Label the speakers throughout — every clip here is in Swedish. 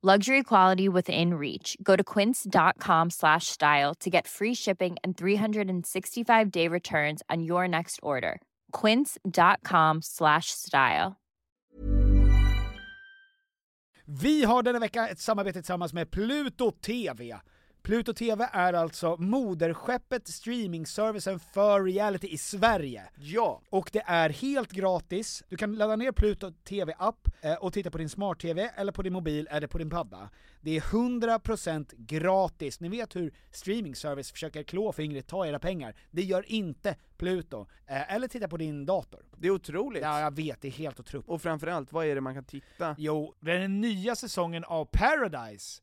Speaker 1: Luxury quality within reach. Go to quince.com slash style to get free shipping and 365 day returns on your next order. Quince.com slash style.
Speaker 2: Vi har denna vecka ett samarbete tillsammans med Pluto TV. Pluto TV är alltså moderskeppet streamingservicen för reality i Sverige.
Speaker 3: Ja!
Speaker 2: Och det är helt gratis. Du kan ladda ner Pluto TV-app eh, och titta på din smart-TV, eller på din mobil, eller på din padda. Det är 100% gratis. Ni vet hur streamingservice försöker klå fingret, ta era pengar. Det gör inte Pluto. Eh, eller titta på din dator.
Speaker 3: Det är otroligt.
Speaker 2: Ja, jag vet, det är helt otroligt.
Speaker 3: Och framförallt, vad är det man kan titta?
Speaker 2: Jo, den nya säsongen av Paradise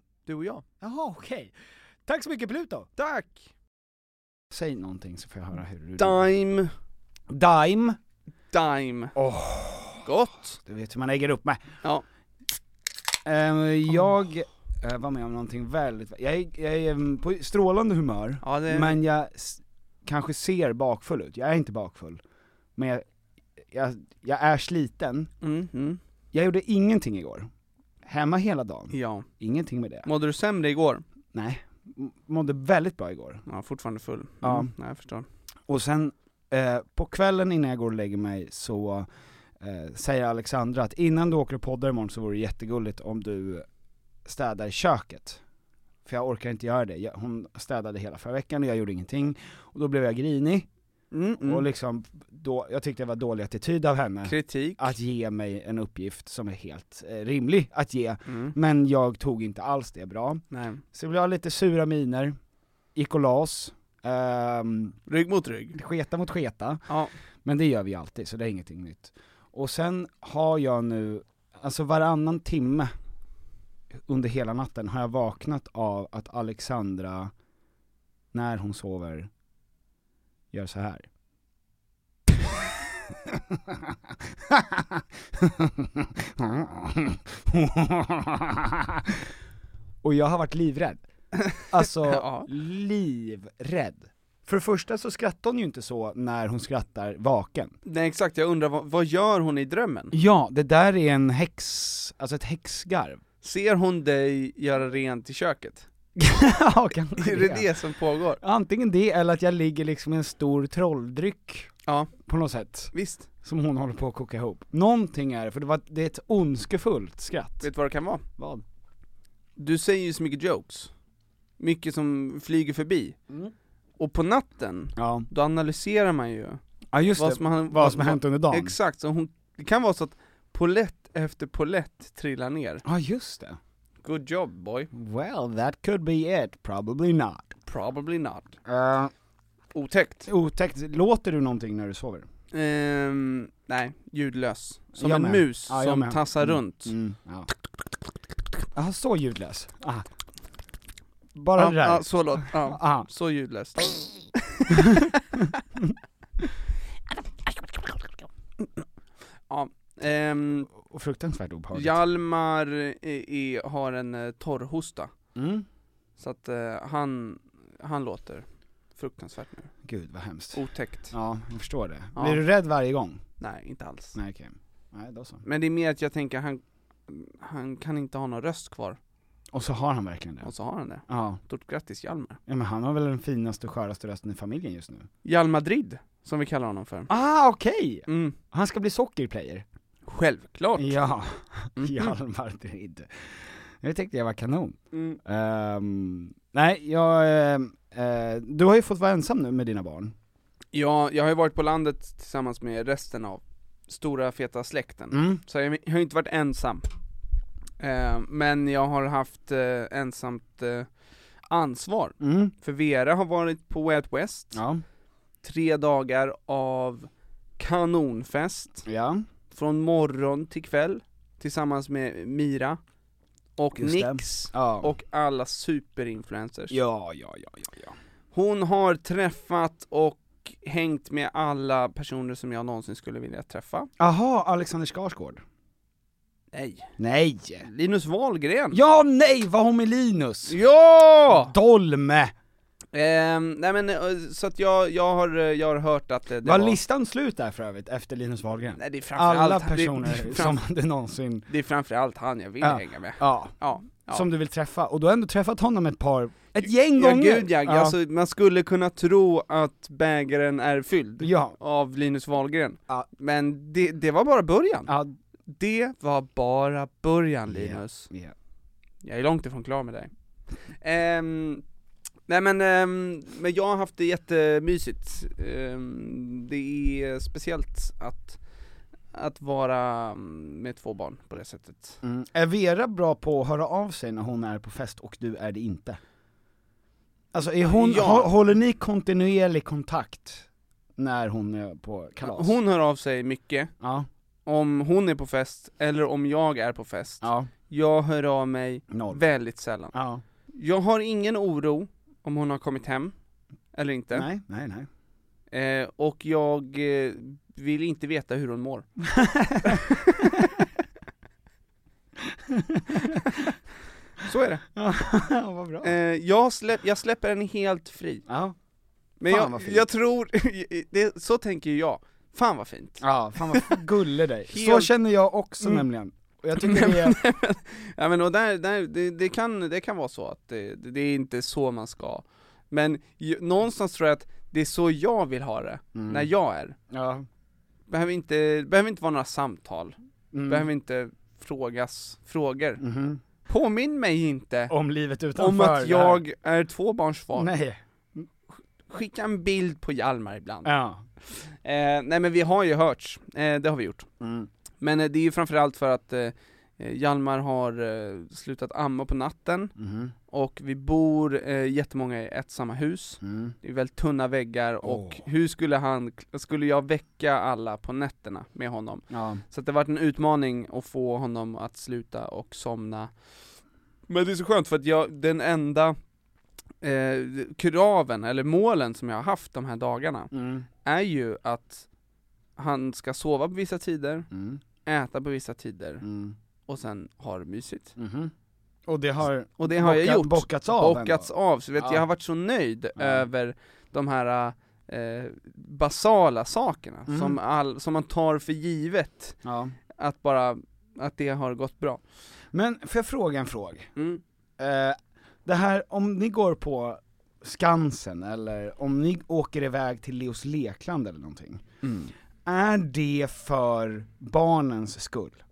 Speaker 3: Du och jag.
Speaker 2: Jaha, okej. Tack så mycket Pluto!
Speaker 3: Tack!
Speaker 2: Säg någonting så får jag höra hur du...
Speaker 3: Dime,
Speaker 2: Dime!
Speaker 3: dime. Gott!
Speaker 2: Du vet hur man lägger upp med.
Speaker 3: Ja.
Speaker 2: Ehm, jag eh, var med om någonting väldigt, jag är, jag är mm, på strålande humör,
Speaker 3: Ja, det-
Speaker 2: men jag s- kanske ser bakfull ut. Jag är inte bakfull, men jag, jag, jag är sliten.
Speaker 3: Mm, mm.
Speaker 2: Jag gjorde ingenting igår. Hemma hela dagen.
Speaker 3: Ja.
Speaker 2: Ingenting med det.
Speaker 3: Mådde du sämre igår?
Speaker 2: Nej. M- Mådde väldigt bra igår.
Speaker 3: Ja, fortfarande full. Mm.
Speaker 2: Ja.
Speaker 3: Nej, jag förstår.
Speaker 2: Och sen, eh, på kvällen innan jag går och lägger mig så eh, säger Alexandra att innan du åker och poddar imorgon så vore det jättegulligt om du städar i köket. För jag orkar inte göra det. Jag, hon städade hela förra veckan och jag gjorde ingenting. Och då blev jag grinig,
Speaker 3: Mm, mm.
Speaker 2: och liksom, då, jag tyckte det var dålig attityd av henne.
Speaker 3: Kritik.
Speaker 2: att ge mig en uppgift som är helt eh, rimlig att ge,
Speaker 3: Mm.
Speaker 2: men jag tog inte alls det bra.
Speaker 3: Nej.
Speaker 2: Så jag blev lite sura miner, gick och las, ehm,
Speaker 3: Rygg mot rygg.
Speaker 2: sketa mot sketa,
Speaker 3: Ja.
Speaker 2: men det gör vi alltid så det är ingenting nytt. Och sen har jag nu, alltså varannan timme under hela natten har jag vaknat av att Alexandra, när hon sover, gör så här. Och jag har varit livrädd. Alltså,
Speaker 3: Ja.
Speaker 2: livrädd. För det första så skrattar hon ju inte så när hon skrattar vaken.
Speaker 3: Nej exakt, jag undrar vad, vad gör hon i drömmen?
Speaker 2: Ja, det där är en häx, alltså ett häxgarv.
Speaker 3: Ser hon dig göra rent i köket?
Speaker 2: ja, kanske
Speaker 3: Är det det som pågår?
Speaker 2: Antingen det eller att jag ligger liksom i en stor trolldryck
Speaker 3: Ja,
Speaker 2: på något sätt,
Speaker 3: visst.
Speaker 2: som hon håller på att koka ihop. Någonting är det, för det, var, det är ett ondskefullt skratt.
Speaker 3: Vet du vad det kan vara?
Speaker 2: Vad?
Speaker 3: Du säger ju så mycket jokes. Mycket som flyger förbi.
Speaker 2: Mm.
Speaker 3: Och på natten,
Speaker 2: Ja,
Speaker 3: då analyserar man ju
Speaker 2: ja just
Speaker 3: vad
Speaker 2: det,
Speaker 3: som, har-
Speaker 2: vad som har hänt under dagen.
Speaker 3: Exakt, så hon, det kan vara så att polett efter polett trillar ner.
Speaker 2: Ja just det.
Speaker 3: Good job boy.
Speaker 2: Well, that could be it, probably not.
Speaker 3: Probably not.
Speaker 2: Eh,
Speaker 3: Otäckt.
Speaker 2: Otäckt. Låter du någonting när du sover?
Speaker 3: Ehm, nej, ljudlös. Som
Speaker 2: Jag
Speaker 3: en
Speaker 2: med.
Speaker 3: mus
Speaker 2: Ja, jag
Speaker 3: som
Speaker 2: med.
Speaker 3: tassar
Speaker 2: Mm.
Speaker 3: runt.
Speaker 2: Mm. Ja. Aha, så ljudlös? Ah. Bara
Speaker 3: Ja,
Speaker 2: det där?
Speaker 3: ja, så låter ja.
Speaker 2: Aha.
Speaker 3: Så ljudlöst. ja. ehm,
Speaker 2: Och fruktansvärt obehagligt.
Speaker 3: Hjalmar är, är, har en eh, torrhosta,
Speaker 2: Mm.
Speaker 3: så att eh, han, han låter fruktansvärt nu.
Speaker 2: Gud vad hemskt.
Speaker 3: Otäckt.
Speaker 2: Oh. Ja, jag förstår det.
Speaker 3: Ja.
Speaker 2: Blir du rädd varje gång?
Speaker 3: Nej, inte alls.
Speaker 2: Nej okej. Nej då så.
Speaker 3: Men det är mer att jag tänker, han, han kan inte ha någon röst kvar.
Speaker 2: Och så har han verkligen det.
Speaker 3: Och så har han det.
Speaker 2: Ja.
Speaker 3: Stort grattis Hjalmar.
Speaker 2: ja, men han har väl den finaste och sköraste rösten i familjen just nu.
Speaker 3: Hjalmadrid, som vi kallar honom för.
Speaker 2: Ah okej!
Speaker 3: Mm.
Speaker 2: Han ska bli sockerplayer.
Speaker 3: Självklart!
Speaker 2: Ja,
Speaker 3: Mhm.
Speaker 2: Mm. Hjalmar Drid. Jag tänkte jag var kanon.
Speaker 3: Mm.
Speaker 2: Ehm, nej, jag, ehm, eh, du har ju fått vara ensam nu med dina barn.
Speaker 3: Ja, jag har ju varit på landet tillsammans med resten av stora feta släkten.
Speaker 2: Mm.
Speaker 3: Så jag, jag har inte varit ensam. Eh, men jag har haft eh, ensamt eh, ansvar.
Speaker 2: Mm.
Speaker 3: För Vera har varit på Way Out West,
Speaker 2: Ja.
Speaker 3: tre dagar av kanonfest,
Speaker 2: Ja.
Speaker 3: från morgon till kväll, tillsammans med Mira, och
Speaker 2: Just det.
Speaker 3: Nix,
Speaker 2: Ja.
Speaker 3: och alla superinfluencers.
Speaker 2: ja, ja, ja, ja, ja.
Speaker 3: Hon har träffat och hängt med alla personer som jag någonsin skulle vilja träffa.
Speaker 2: Aha, Alexander Skarsgård.
Speaker 3: Nej.
Speaker 2: Nej!
Speaker 3: Linus Wahlgren!
Speaker 2: Ja, nej, var hon med Linus?
Speaker 3: Ja!
Speaker 2: Dolme!
Speaker 3: Ehm, nej men, eh, så att jag, jag, har, eh, jag har hört att eh, det
Speaker 2: var,
Speaker 3: var...
Speaker 2: listan slut där för övrigt, efter Linus Wahlgren?
Speaker 3: nej, det är framförallt,
Speaker 2: Alla
Speaker 3: det- det,
Speaker 2: personer
Speaker 3: är fram,
Speaker 2: som hade någonsin,
Speaker 3: det är framförallt han jag vill
Speaker 2: Ja.
Speaker 3: hänga med.
Speaker 2: ja,
Speaker 3: Ja. ja.
Speaker 2: som du vill träffa, och du har ändå träffat honom ett par, ett gäng
Speaker 3: ja,
Speaker 2: gånger!
Speaker 3: gud ja, Alltså, man skulle kunna tro att bägaren är fylld
Speaker 2: ja,
Speaker 3: av Linus Wahlgren.
Speaker 2: Ja.
Speaker 3: Men det, det var bara början.
Speaker 2: ja,
Speaker 3: Det var bara början Linus.
Speaker 2: ja.
Speaker 3: Jag är långt ifrån klar med dig. Ehm, nej men, ehm, men jag har haft det jättemysigt. Ehm, det är speciellt att, att vara mm, med två barn på det sättet.
Speaker 2: Mm. Är Vera bra på att höra av sig när hon är på fest och du är det inte? Alltså är hon,
Speaker 3: Ja.
Speaker 2: hå- håller ni kontinuerlig kontakt när hon är på kalas?
Speaker 3: Hon hör av sig mycket,
Speaker 2: Ja,
Speaker 3: om hon är på fest eller om jag är på fest.
Speaker 2: ja,
Speaker 3: Jag hör av mig
Speaker 2: noll.
Speaker 3: väldigt sällan.
Speaker 2: ja,
Speaker 3: Jag har ingen oro om hon har kommit hem eller inte.
Speaker 2: nej, nej, nej.
Speaker 3: Eh, och jag eh, vill inte veta hur hon mår. Så är det.
Speaker 2: Ja, vad bra.
Speaker 3: Eh, jag, släpp, jag släpper den helt fri.
Speaker 2: Ja.
Speaker 3: Men
Speaker 2: Fan,
Speaker 3: jag,
Speaker 2: vad fint.
Speaker 3: jag tror, det, så tänker ju jag. Fan vad fint.
Speaker 2: ja, fan vad gullig dig. Så
Speaker 3: Helt-
Speaker 2: känner jag också
Speaker 3: Mm.
Speaker 2: nämligen. Och jag tycker det är,
Speaker 3: Ja, men och där, där, det, det, kan, det kan vara så att det, det är inte så man ska. Men ju, någonstans tror jag att det är så jag vill ha det,
Speaker 2: Mm.
Speaker 3: när jag är.
Speaker 2: ja.
Speaker 3: Behöver inte, behöver inte vara några samtal,
Speaker 2: Mm.
Speaker 3: behöver inte frågas frågor.
Speaker 2: Mhm.
Speaker 3: Påminn mig inte
Speaker 2: Om livet utanför
Speaker 3: om att
Speaker 2: det här.
Speaker 3: jag är tvåbarnsfar.
Speaker 2: Nej,
Speaker 3: Skicka en bild på Hjalmar ibland.
Speaker 2: ja.
Speaker 3: Eh, nej men vi har ju hörts, eh, det har vi gjort.
Speaker 2: Mm.
Speaker 3: Men eh, det är ju framförallt för att eh, eh, Hjalmar har eh, slutat amma på natten
Speaker 2: Mhm.
Speaker 3: och vi bor eh, jättemånga i ett samma hus.
Speaker 2: Mm.
Speaker 3: Det är väldigt tunna väggar och
Speaker 2: Åh.
Speaker 3: hur skulle han, skulle jag väcka alla på nätterna med honom?
Speaker 2: Ja.
Speaker 3: Så att det har varit en utmaning att få honom att sluta och somna Men det är så skönt för att jag, den enda eh, kraven eller målen som jag har haft de här dagarna
Speaker 2: Mm.
Speaker 3: är ju att han ska sova på vissa tider,
Speaker 2: Mm.
Speaker 3: äta på vissa tider
Speaker 2: Mm.
Speaker 3: och sen ha det mysigt.
Speaker 2: Mhm. Och det har
Speaker 3: Och det har jag
Speaker 2: bockat-
Speaker 3: gjort.
Speaker 2: bockats av
Speaker 3: Bockats
Speaker 2: ändå.
Speaker 3: av, så vet,
Speaker 2: Ja.
Speaker 3: jag har varit så nöjd
Speaker 2: Ja.
Speaker 3: över de här eh, basala sakerna
Speaker 2: Mm.
Speaker 3: som, all, som man tar för givet,
Speaker 2: Ja.
Speaker 3: att bara, att det har gått bra.
Speaker 2: Men får jag fråga en fråga?
Speaker 3: Mm.
Speaker 2: Eh, det här, om ni går på Skansen eller om ni åker iväg till Leos Lekland eller någonting, är det för barnens skull?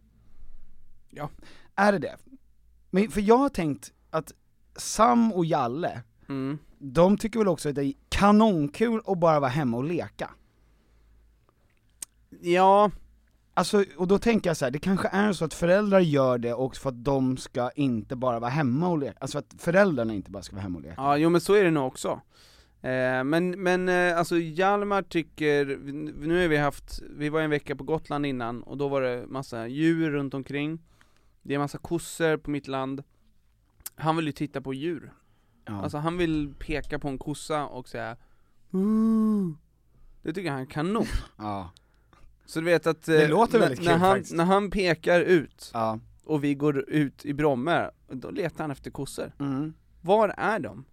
Speaker 3: Ja.
Speaker 2: Är det det? Men, för jag har tänkt att Sam och Jalle,
Speaker 3: Mm.
Speaker 2: de tycker väl också att det är kanonkul att bara vara hemma och leka?
Speaker 3: Ja,
Speaker 2: Alltså, och då tänker jag så här, det kanske är så att föräldrar gör det också för att de ska inte bara vara hemma och leka, alltså att föräldrarna inte bara ska vara hemma och leka.
Speaker 3: ja, jo men så är det nog också. Eh, men, men eh, alltså Hjalmar tycker, nu har vi haft, vi var en vecka på Gotland innan och då var det massa djur runt omkring Det är massa kossor på mitt land Han vill ju titta på djur,
Speaker 2: Ja.
Speaker 3: alltså han vill peka på en kossa och säga "Ooh." Det tycker han är kanon,
Speaker 2: ja.
Speaker 3: så du vet att eh,
Speaker 2: Det låter
Speaker 3: när-
Speaker 2: väldigt
Speaker 3: när,
Speaker 2: kul
Speaker 3: han,
Speaker 2: faktiskt.
Speaker 3: när han pekar ut
Speaker 2: ja.
Speaker 3: och vi går ut i Bromme, då letar han efter kossor
Speaker 2: Mm.
Speaker 3: Var är de?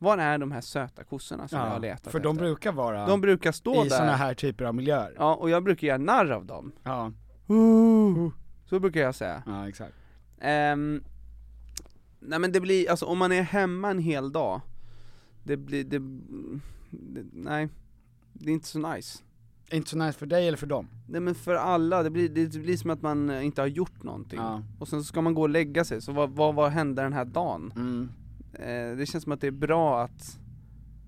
Speaker 3: Var är de här söta kossorna som jag har letat
Speaker 2: För de
Speaker 3: efter?
Speaker 2: brukar vara
Speaker 3: De brukar stå
Speaker 2: i
Speaker 3: där,
Speaker 2: såna här typer av miljöer.
Speaker 3: ja och jag brukar göra narr av dem
Speaker 2: Ja,
Speaker 3: Så brukar jag säga
Speaker 2: ja exakt.
Speaker 3: Ehm, Nej men det blir, alltså om man är hemma en hel dag Det blir, det, det nej Det är inte så nice
Speaker 2: Inte så nice för dig eller för dem.
Speaker 3: Nej men för alla, det blir, det blir som att man eh, inte har gjort någonting
Speaker 2: Ja.
Speaker 3: Och sen så ska man gå och lägga sig, så vad, vad, vad hände den här dagen?
Speaker 2: Mm.
Speaker 3: Eh, det känns som att det är bra att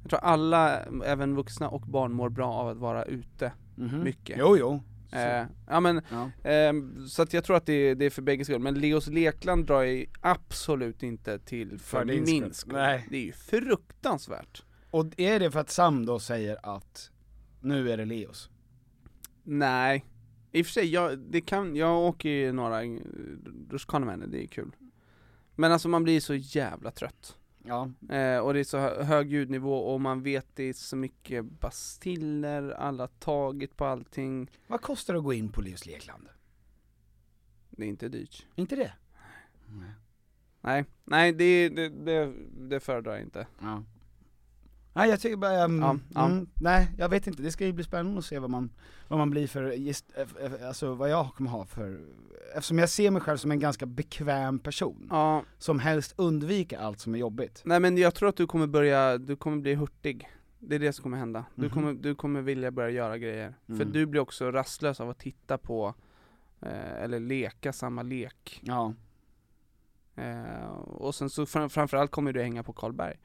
Speaker 3: Jag tror alla, även vuxna och barn mår bra av att vara ute
Speaker 2: Mhm.
Speaker 3: mycket
Speaker 2: Jo, jo. Så-
Speaker 3: Eh, ja men,
Speaker 2: Ja.
Speaker 3: ehm, så att jag tror att det är, det är för bägge skull, men Leos Lekland drar jag ju absolut inte till för,
Speaker 2: För din
Speaker 3: min
Speaker 2: skull.
Speaker 3: skull.
Speaker 2: Nej.
Speaker 3: Det är ju fruktansvärt.
Speaker 2: Och är det för att Sam då säger att nu är det Leos?
Speaker 3: Nej, i och för sig, jag, det kan, jag åker ju några eh, rutschkanor med henne, det är kul. Men alltså man blir så jävla trött.
Speaker 2: Ja.
Speaker 3: Eh, och det är så hö- hög ljudnivå och man vet det är så mycket bastiller, alla har tagit på allting.
Speaker 2: Vad kostar det att gå in på Leos Lekland?
Speaker 3: Det är inte dyrt.
Speaker 2: Inte det?
Speaker 3: Nej, nej det, det, det, det föredrar jag inte.
Speaker 2: Ja. Nej jag tycker bara, ehm,
Speaker 3: Ja, ja.
Speaker 2: Mm, nej jag vet inte, det ska ju bli spännande att se vad man, vad man blir för, just, alltså vad jag kommer ha för, eftersom jag ser mig själv som en ganska bekväm person,
Speaker 3: Ja,
Speaker 2: som helst undviker allt som är jobbigt.
Speaker 3: Nej men jag tror att du kommer börja, du kommer bli hurtig Det är det som kommer hända, du,
Speaker 2: Mhm.
Speaker 3: kommer, du kommer vilja börja göra grejer För
Speaker 2: Mm.
Speaker 3: du blir också rastlös av att titta på eh, Eller leka samma lek
Speaker 2: Ja.
Speaker 3: eh, Och sen så fram, framförallt kommer du hänga på Karlberg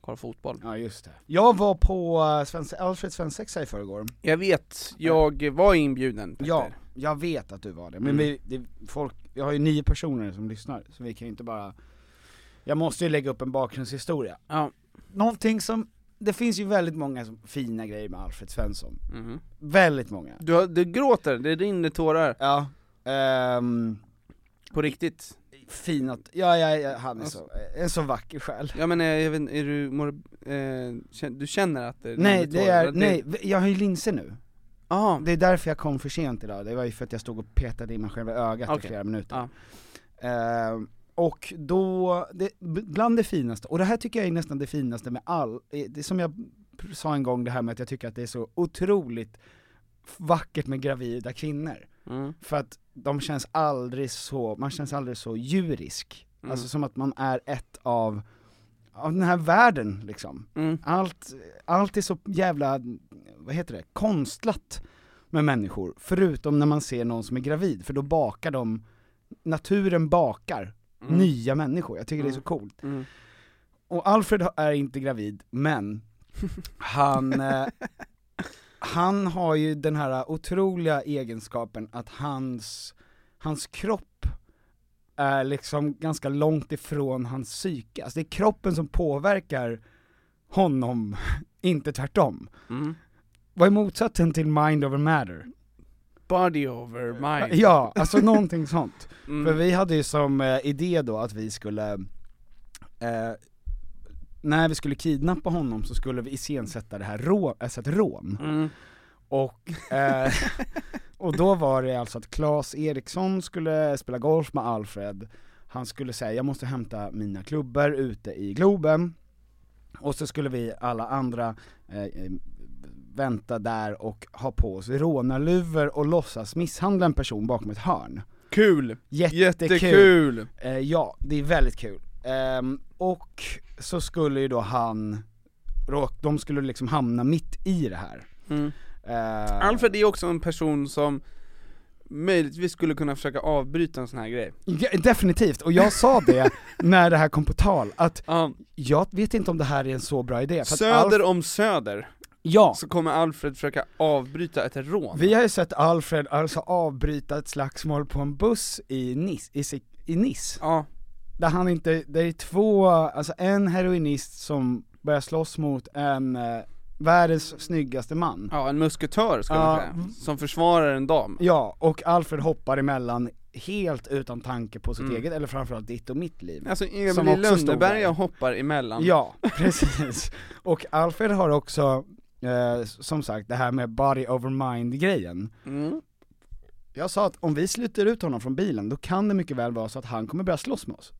Speaker 3: Kolla fotboll
Speaker 2: Ja just det. Jag var på eh, Svense, Alfred svensexa i förrgår.
Speaker 3: Jag vet, jag var inbjuden Petter.
Speaker 2: Ja, jag vet att du var det, men
Speaker 3: Mm.
Speaker 2: vi, det, folk, jag har ju nio personer som lyssnar, så vi kan ju inte bara Jag måste ju lägga upp en bakgrundshistoria.
Speaker 3: ja.
Speaker 2: Någonting som, det finns ju väldigt många som, fina grejer med Alfred Svensson.
Speaker 3: Mhm.
Speaker 2: Väldigt många.
Speaker 3: du, har- du gråter, det rinner tårar
Speaker 2: Ja, ehm,
Speaker 3: på riktigt
Speaker 2: fin att, ja, ja, ja han är så, en så vacker själ.
Speaker 3: Ja men eh, jag vet inte, är du, mår, eh, kän- du känner att det
Speaker 2: Nej,
Speaker 3: rinner
Speaker 2: det
Speaker 3: tårar?
Speaker 2: är, nej, jag har ju linser nu.
Speaker 3: ah,
Speaker 2: Det är därför jag kom för sent idag, det var ju för att jag stod och petade i mig själva ögat i
Speaker 3: Okej.
Speaker 2: flera minuter.
Speaker 3: Ja.
Speaker 2: Ehm, och då, det, bland det finaste, och det här tycker jag är nästan det finaste med all, eh, det som jag pr- sa en gång det här med att jag tycker att det är så otroligt vackert med gravida kvinnor.
Speaker 3: mm.
Speaker 2: För att de känns aldrig så, man känns aldrig så djurisk.
Speaker 3: Mm.
Speaker 2: Alltså som att man är ett av, av den här världen liksom.
Speaker 3: Mm.
Speaker 2: Allt, allt är så jävla, vad heter det, konstlat med människor. Förutom när man ser någon som är gravid, för då bakar de, naturen bakar
Speaker 3: Mm.
Speaker 2: nya människor. Jag tycker det är så
Speaker 3: Mm.
Speaker 2: coolt.
Speaker 3: Mm.
Speaker 2: Och Alfred ha- är inte gravid, men han, eh, han har ju den här otroliga egenskapen att hans, hans kropp är liksom ganska långt ifrån hans psyke. Alltså det är kroppen som påverkar honom, inte tvärtom.
Speaker 3: Mm.
Speaker 2: Vad är motsatsen till mind over matter?
Speaker 3: Body over mind.
Speaker 2: Ja, alltså någonting sånt.
Speaker 3: Mm.
Speaker 2: För vi hade ju som eh, idé då att vi skulle, eh, när vi skulle kidnappa honom så skulle vi iscensätta det här rå, alltså ett rån.
Speaker 3: Mm.
Speaker 2: Och, eh, och då var det alltså att Claes Eriksson skulle spela golf med Alfred, han skulle säga jag måste hämta mina klubbor ute i Globen, och så skulle vi alla andra eh, eh, vänta där och ha på oss rånarluvor och låtsas misshandla en person bakom ett hörn.
Speaker 3: Kul!
Speaker 2: Jättekul!
Speaker 3: Jättekul!
Speaker 2: Eh, ja, det är väldigt kul. Ehm, och så skulle ju då han, råk- de skulle liksom hamna mitt i det här.
Speaker 3: Mm.
Speaker 2: Eh,
Speaker 3: Alfred är också en person som möjligtvis skulle kunna försöka avbryta en sån här grej.
Speaker 2: ja, definitivt, och jag sa det när det här kom på tal, att
Speaker 3: Ja,
Speaker 2: jag vet inte om det här är en så bra idé. För att
Speaker 3: söder
Speaker 2: Alf-
Speaker 3: om söder
Speaker 2: ja.
Speaker 3: så kommer Alfred försöka avbryta ett rån.
Speaker 2: Vi har ju sett Alfred alltså avbryta ett slagsmål på en buss i Nice, i, Sik- i Nice.
Speaker 3: Ja,
Speaker 2: där han inte, där är två, alltså en heroinist som börjar slåss mot en eh, världens snyggaste man.
Speaker 3: Ja, en musketör skulle man
Speaker 2: Ja.
Speaker 3: säga, som försvarar en dam.
Speaker 2: Ja, och Alfred hoppar emellan helt utan tanke på sitt
Speaker 3: Mm.
Speaker 2: eget, eller framförallt ditt och mitt liv.
Speaker 3: Alltså
Speaker 2: Som
Speaker 3: Emil
Speaker 2: också stod
Speaker 3: Lönneberga
Speaker 2: där.
Speaker 3: hoppar emellan.
Speaker 2: Ja, precis. Och Alfred har också, eh, som sagt, det här med body over mind grejen.
Speaker 3: Mm.
Speaker 2: Jag sa att om vi sluter ut honom från bilen, då kan det mycket väl vara så att han kommer börja slåss med oss.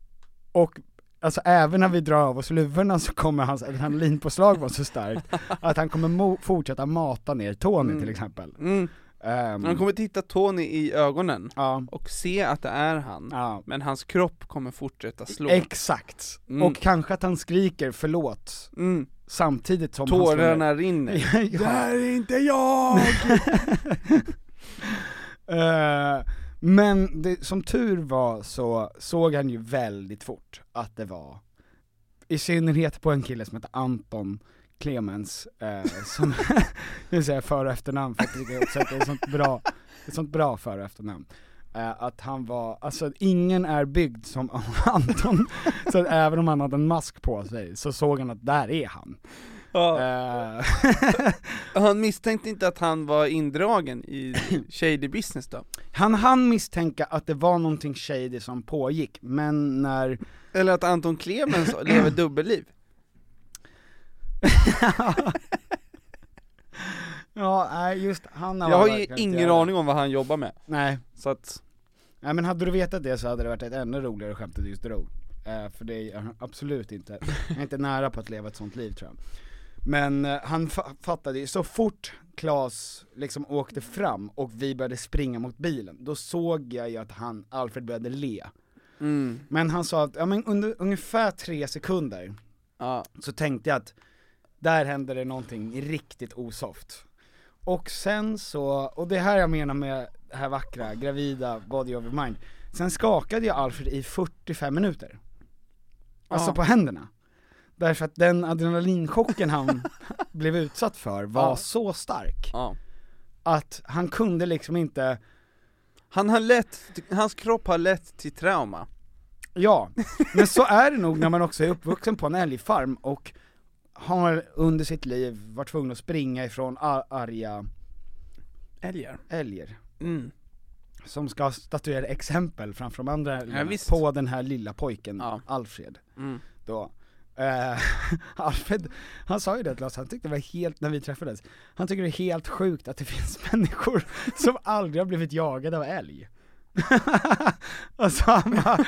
Speaker 2: Och Alltså även när vi drar av oss luvorna så kommer hans adrenalinpåslag vara så starkt att han kommer mo- fortsätta mata ner Tony till exempel.
Speaker 3: Mm.
Speaker 2: Ehm,
Speaker 3: Han kommer titta Tony i ögonen
Speaker 2: ja,
Speaker 3: och se att det är han,
Speaker 2: ja,
Speaker 3: men hans kropp kommer fortsätta slå.
Speaker 2: exakt.
Speaker 3: Mm.
Speaker 2: Och kanske att han skriker förlåt
Speaker 3: Mm.
Speaker 2: samtidigt som han slår ner-
Speaker 3: Tårarna rinner.
Speaker 2: Ja, ja.
Speaker 3: Det här är inte jag!
Speaker 2: Eh, men det, som tur var så såg han ju väldigt fort att det var, i synnerhet på en kille som heter Anton Clemens, eh, som, nu säger jag för och efternamn för att det är också- det är ett sånt bra, ett sånt bra för och efternamn. Eh, att han var, alltså ingen är byggd som Anton, så att även om han hade en mask på sig så såg han att där är han.
Speaker 3: ja.
Speaker 2: Eh,
Speaker 3: Han misstänkte inte att han var indragen i shady business då?
Speaker 2: han hann misstänka att det var någonting shady som pågick, men när
Speaker 3: Eller att Anton Clemens lever dubbelliv?
Speaker 2: Ja, nej just han
Speaker 3: Jag har ju
Speaker 2: verkligen inte
Speaker 3: ingen
Speaker 2: jag-
Speaker 3: aning om vad han jobbar med,
Speaker 2: Nej,
Speaker 3: så att,
Speaker 2: nej men hade du vetat det så hade det varit ett ännu roligare skämt att du just drog. Eh, för det är han absolut inte, han är inte nära på att leva ett sånt liv tror jag. Men eh, han fa- fattade ju, så fort Klas liksom åkte fram och vi började springa mot bilen, då såg jag ju att han, Alfred började le.
Speaker 3: mm,
Speaker 2: Men han sa att, ja men under ungefär tre sekunder
Speaker 3: ja.
Speaker 2: så tänkte jag att där hände det någonting riktigt osoft. Och sen så, och det här jag menar med det här vackra, gravida, body over mind. Sen skakade jag Alfred i 45 minuter. Alltså
Speaker 3: Ja.
Speaker 2: på händerna. Därför att den adrenalinchocken han blev utsatt för var
Speaker 3: Ja.
Speaker 2: så stark
Speaker 3: ja.
Speaker 2: att han kunde liksom inte,
Speaker 3: Han har lätt, hans kropp har lätt till trauma.
Speaker 2: ja. Men så är det nog när man också är uppvuxen på en älgfarm och har under sitt liv varit tvungen att springa ifrån ar- arga
Speaker 3: Älgar.
Speaker 2: älger
Speaker 3: Mm.
Speaker 2: som ska statuera exempel framför de andra älgarna
Speaker 3: visst.
Speaker 2: på den här lilla pojken,
Speaker 3: Ja.
Speaker 2: Alfred.
Speaker 3: Mm.
Speaker 2: Då. Eh, Alfred, han sa ju det till oss, han tyckte det var helt, när vi träffades, han tycker det är helt sjukt att det finns människor som aldrig har blivit jagade av älg. alltså han, bara,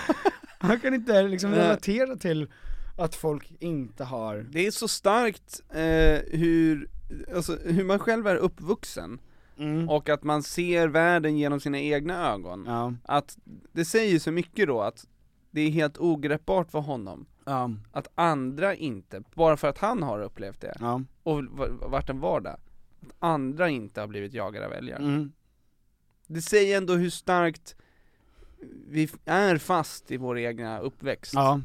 Speaker 2: han kan inte liksom
Speaker 3: Nej.
Speaker 2: relatera till att folk inte har,
Speaker 3: Det är så starkt eh, hur, alltså, hur man själv är uppvuxen
Speaker 2: mm.
Speaker 3: och att man ser världen genom sina egna ögon.
Speaker 2: ja,
Speaker 3: Att det säger så mycket då att det är helt ogreppbart för honom
Speaker 2: ja,
Speaker 3: att andra inte, bara för att han har upplevt det
Speaker 2: ja,
Speaker 3: och v- varit en vardag, att andra inte har blivit jagade av älgar.
Speaker 2: mm.
Speaker 3: Det säger ändå hur starkt vi f- är fast i vår egna uppväxt
Speaker 2: ja,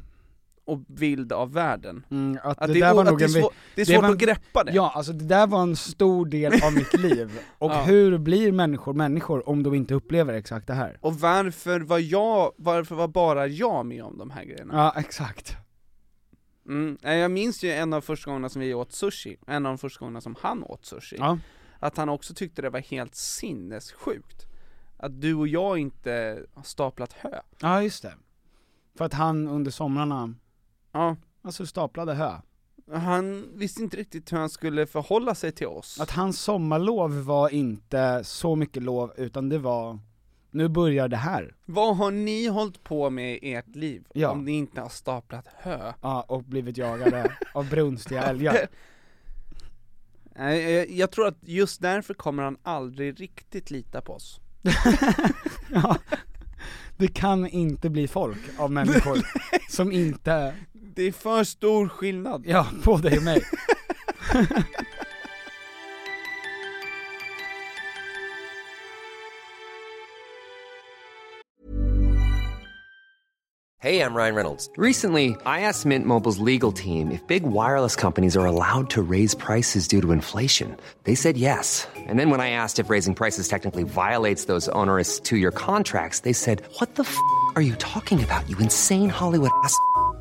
Speaker 3: och bild av världen.
Speaker 2: mm, att,
Speaker 3: Att
Speaker 2: det, där
Speaker 3: o-
Speaker 2: var
Speaker 3: att
Speaker 2: nog
Speaker 3: det
Speaker 2: en
Speaker 3: är, svår, det är
Speaker 2: det
Speaker 3: svårt
Speaker 2: var-
Speaker 3: att greppa det.
Speaker 2: Ja, alltså det där var en stor del av mitt liv, och
Speaker 3: Ja.
Speaker 2: hur blir människor människor om de inte upplever exakt det här?
Speaker 3: Och varför var jag, varför var bara jag med om de här grejerna?
Speaker 2: Ja, exakt.
Speaker 3: Mm. Nej, Jag minns ju en av första gångerna som vi åt sushi, en av de första gångerna som han åt sushi,
Speaker 2: Ja.
Speaker 3: att han också tyckte det var helt sinnessjukt. Att du och jag inte har staplat hö.
Speaker 2: ja, just det. För att han under somrarna,
Speaker 3: Ja,
Speaker 2: alltså staplade hö.
Speaker 3: han visste inte riktigt hur han skulle förhålla sig till oss.
Speaker 2: Att hans sommarlov var inte så mycket lov, utan det var, nu börjar det här.
Speaker 3: Vad har ni hållit på med i ert liv
Speaker 2: Ja.
Speaker 3: om ni inte har staplat hö?
Speaker 2: Ja, och blivit jagade av brunstiga älgar.
Speaker 3: Nej, jag- Eh, Jag tror att just därför kommer han aldrig riktigt lita på oss.
Speaker 2: ja. Det kan inte bli folk av människor som inte,
Speaker 3: Det är för stor skillnad.
Speaker 2: ja, på dig och mig.
Speaker 4: Hey, I'm Ryan Reynolds. Recently, I asked Mint Mobile's legal team if big wireless companies are allowed to raise prices due to inflation. They said yes. And then when I asked if raising prices technically violates those onerous two year contracts, they said, What the f are you talking about, you insane Hollywood ass? f- a-"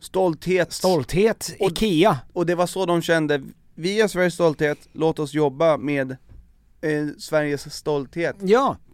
Speaker 3: Stolthet.
Speaker 2: stolthet,
Speaker 3: Och-
Speaker 2: IKEA.
Speaker 3: Och det var så de kände, vi är Sveriges stolthet, låt oss jobba med eh, Sveriges stolthet.
Speaker 2: Ja,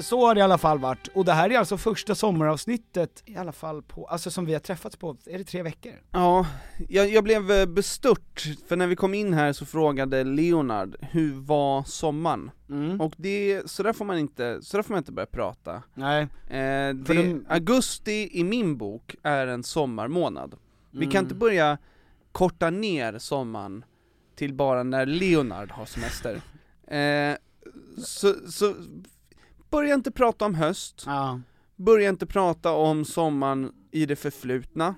Speaker 2: Så har det i alla fall varit, och det här är alltså första sommaravsnittet i alla fall på, alltså som vi har träffats på, är det tre veckor?
Speaker 3: Ja, jag, jag blev eh, bestört, för när vi kom in här så frågade Leonard, hur var sommaren?
Speaker 2: Mm.
Speaker 3: Och det, så där får man inte, så där får man inte börja prata.
Speaker 2: Nej.
Speaker 3: Eh, det,
Speaker 2: För de-
Speaker 3: Augusti i min bok är en sommarmånad. Vi kan
Speaker 2: Mm.
Speaker 3: inte börja korta ner sommaren till bara när Leonard har semester. eh, så, så, börja inte prata om höst,
Speaker 2: Ja.
Speaker 3: börja inte prata om sommaren i det förflutna.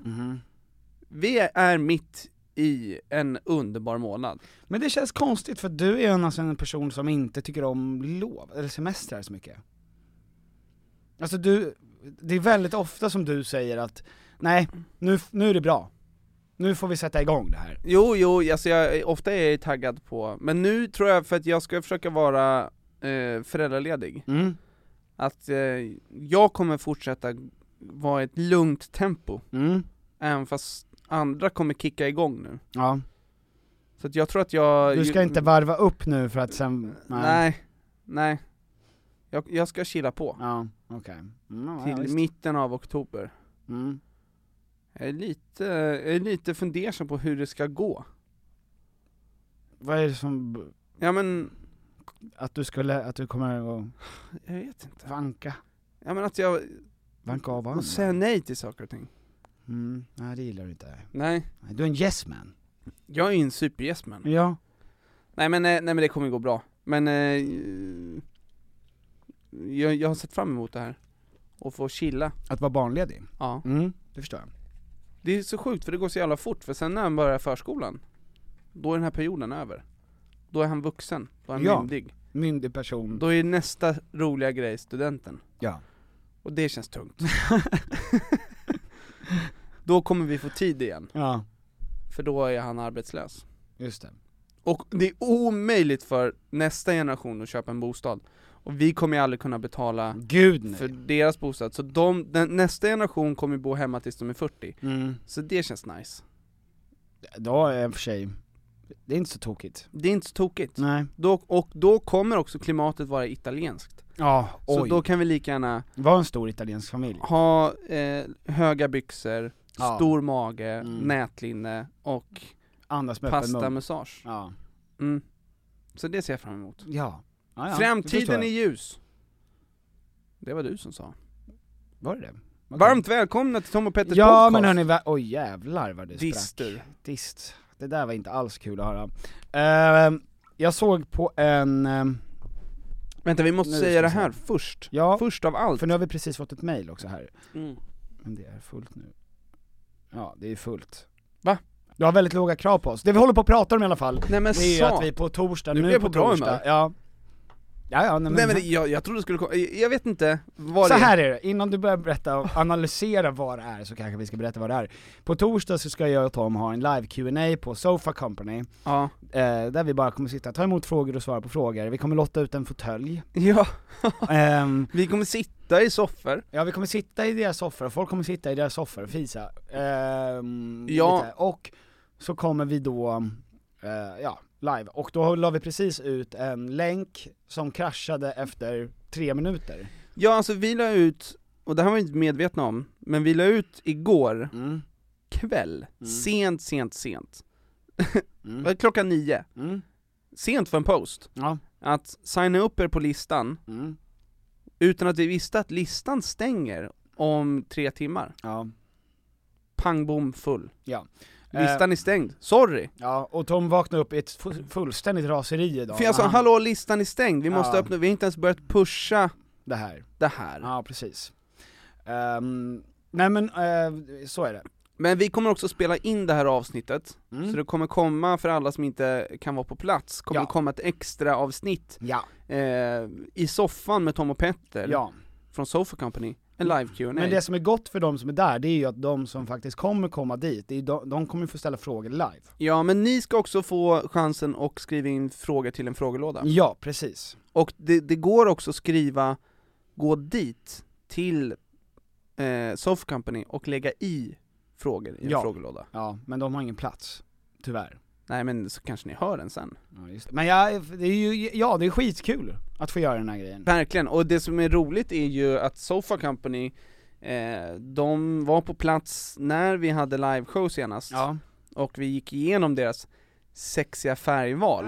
Speaker 3: Vi är, är mitt i en underbar månad.
Speaker 2: Men det känns konstigt för du är alltså en person som inte tycker om lov, eller semestrar så mycket. Alltså du, det är väldigt ofta som du säger att nej, nu, nu är det bra. Nu får vi sätta igång det här.
Speaker 3: Jo, jo, alltså jag, ofta är jag taggad på, men nu tror jag för att jag ska försöka vara eh, föräldraledig.
Speaker 2: Mm.
Speaker 3: att eh, jag kommer fortsätta vara i ett lugnt tempo,
Speaker 2: Mm.
Speaker 3: även fast andra kommer kicka igång nu.
Speaker 2: Ja.
Speaker 3: Så att jag tror att jag...
Speaker 2: Du ska
Speaker 3: ju-
Speaker 2: inte varva upp nu för att sen,
Speaker 3: Nej, nej. Jag, jag ska chilla på,
Speaker 2: Ja, okej. Mm, ja,
Speaker 3: till
Speaker 2: visst.
Speaker 3: mitten av oktober.
Speaker 2: Mm.
Speaker 3: Jag är lite, jag är lite fundersam på hur det ska gå.
Speaker 2: Vad är det som,
Speaker 3: Ja men,
Speaker 2: att du skulle, att du kommer att
Speaker 3: jag vet inte.
Speaker 2: vanka?
Speaker 3: Ja men att jag
Speaker 2: Vanka av varandra?
Speaker 3: måste säga nej till saker och ting.
Speaker 2: Mm, nej det gillar du inte.
Speaker 3: Nej,
Speaker 2: Nej, Du är en yes man.
Speaker 3: jag är ju en supergäst man.
Speaker 2: Ja.
Speaker 3: Nej men, eh, nej men det kommer gå bra. Men eh, jag, jag har sett fram emot det här. Och få chilla.
Speaker 2: Att vara barnledig?
Speaker 3: Ja.
Speaker 2: Mm, det förstår jag.
Speaker 3: Det är så sjukt för det går så jävla fort, för sen när han börjar förskolan, då är den här perioden över. Då är han vuxen, då är han
Speaker 2: Ja.
Speaker 3: myndig.
Speaker 2: Myndig person.
Speaker 3: Då är nästa roliga grej studenten.
Speaker 2: Ja.
Speaker 3: Och det känns tungt. då kommer vi få tid igen,
Speaker 2: Ja,
Speaker 3: för då är han arbetslös.
Speaker 2: just det.
Speaker 3: Och det är omöjligt för nästa generation att köpa en bostad. Och vi kommer ju aldrig kunna betala
Speaker 2: Gud nej.
Speaker 3: för deras bostad, så de, den, nästa generation kommer ju bo hemma tills de är 40
Speaker 2: mm.
Speaker 3: Så det känns nice
Speaker 2: Ja, i och för sig. Det är inte så tokigt.
Speaker 3: Det är inte så tokigt
Speaker 2: Nej.
Speaker 3: då, Och då kommer också klimatet vara italienskt
Speaker 2: Ja,
Speaker 3: Så
Speaker 2: oj.
Speaker 3: då kan vi lika gärna
Speaker 2: Var en stor italiensk familj.
Speaker 3: ha eh, höga byxor,
Speaker 2: Ja.
Speaker 3: stor mage,
Speaker 2: Mm.
Speaker 3: nätlinne och
Speaker 2: Andas med öppen mun.
Speaker 3: pastamustasch
Speaker 2: Ja.
Speaker 3: mm. Så det ser jag fram emot
Speaker 2: Ja. ja, ja. Det förstår
Speaker 3: Framtiden
Speaker 2: jag.
Speaker 3: är ljus! Det var du som sa
Speaker 2: Var det det? Okej.
Speaker 3: Varmt välkomna till Tom och Petters
Speaker 2: Ja
Speaker 3: podcast!
Speaker 2: men hörni, va- oj jävlar vad du
Speaker 3: Dister.
Speaker 2: sprack. Dist. Det där var inte alls kul att höra. Ehm, jag såg på en, ehm,
Speaker 3: Vänta vi måste
Speaker 2: Nu ska
Speaker 3: säga
Speaker 2: vi
Speaker 3: det
Speaker 2: se.
Speaker 3: här först,
Speaker 2: Ja.
Speaker 3: först av allt
Speaker 2: för nu har vi precis fått ett mail också här.
Speaker 3: Mm.
Speaker 2: Men det är fullt nu. Ja, det är fullt.
Speaker 3: Va?
Speaker 2: Du har väldigt låga krav på oss. Det vi håller på att prata om i alla fall,
Speaker 3: Nej men
Speaker 2: det är ju
Speaker 3: sa!
Speaker 2: att vi på torsdag,
Speaker 3: Nu
Speaker 2: nu,
Speaker 3: blir jag
Speaker 2: på
Speaker 3: på bra
Speaker 2: torsdag,
Speaker 3: humör.
Speaker 2: ja. Ja, ja,
Speaker 3: Nej men det- jag, jag trodde det skulle komma, jag jag vet inte vad
Speaker 2: Så
Speaker 3: det
Speaker 2: här är det, innan du börjar berätta och analysera vad det är så kanske vi ska berätta vad det är. På torsdag så ska jag och Tom ha en live Q&A på Sofa Company,
Speaker 3: Ja,
Speaker 2: eh, där vi bara kommer sitta, ta emot frågor och svara på frågor. Vi kommer lotta ut en fåtölj.
Speaker 3: ja,
Speaker 2: Ehm,
Speaker 3: vi kommer sitta i soffor
Speaker 2: ja vi kommer sitta i deras soffor, och folk kommer sitta i deras soffor och fisa. Ehm,
Speaker 3: Ja.
Speaker 2: lite. Och så kommer vi då, eh, ja, live. Och då la vi precis ut en länk som kraschade efter tre minuter.
Speaker 3: Ja alltså vi la ut, och det här var vi inte medvetna om, men vi la ut igår
Speaker 2: Mm.
Speaker 3: kväll, sent, sent, sent
Speaker 2: Mm.
Speaker 3: Det var Klockan nio,
Speaker 2: Mm.
Speaker 3: sent för en post,
Speaker 2: Ja.
Speaker 3: att signa upp er på listan
Speaker 2: Mm.
Speaker 3: utan att vi visste att listan stänger om tre timmar.
Speaker 2: Ja.
Speaker 3: Pang bom full.
Speaker 2: Ja. Eh,
Speaker 3: Listan är stängd. Sorry!
Speaker 2: Ja, och Tom vaknade upp i ett fu- fullständigt raseri idag.
Speaker 3: För jag sa
Speaker 2: när han-
Speaker 3: hallå listan är stängd, vi måste
Speaker 2: Ja.
Speaker 3: öppna, vi har inte ens börjat pusha
Speaker 2: Det här.
Speaker 3: det här.
Speaker 2: Ja, precis. Ehm, nej men, eh, så är det.
Speaker 3: Men vi kommer också spela in det här avsnittet,
Speaker 2: Mm.
Speaker 3: så det kommer komma, för alla som inte kan vara på plats, kommer
Speaker 2: Ja.
Speaker 3: det komma ett extra avsnitt
Speaker 2: Ja.
Speaker 3: eh, i soffan med Tom och Petter
Speaker 2: ja.
Speaker 3: från Sofa Company, en live Q&A
Speaker 2: Men det som är gott för de som är där, det är ju att de som faktiskt kommer komma dit, det är ju de, de kommer ju få ställa frågor live.
Speaker 3: Ja men ni ska också få chansen att skriva in frågor till en frågelåda.
Speaker 2: Ja, precis.
Speaker 3: Och det, det går också att skriva, gå dit till eh, Soft Company och lägga i frågor i en
Speaker 2: Ja.
Speaker 3: frågelåda.
Speaker 2: Ja, men de har ingen plats. Tyvärr.
Speaker 3: Nej men så kanske ni hör den sen.
Speaker 2: Ja, just det. Men jag, det är ju, ja det är skitkul att få göra den här grejen.
Speaker 3: Verkligen, och det som är roligt är ju att Sofa Company, eh, de var på plats när vi hade liveshow senast,
Speaker 2: Ja.
Speaker 3: och vi gick igenom deras sexiga färgval.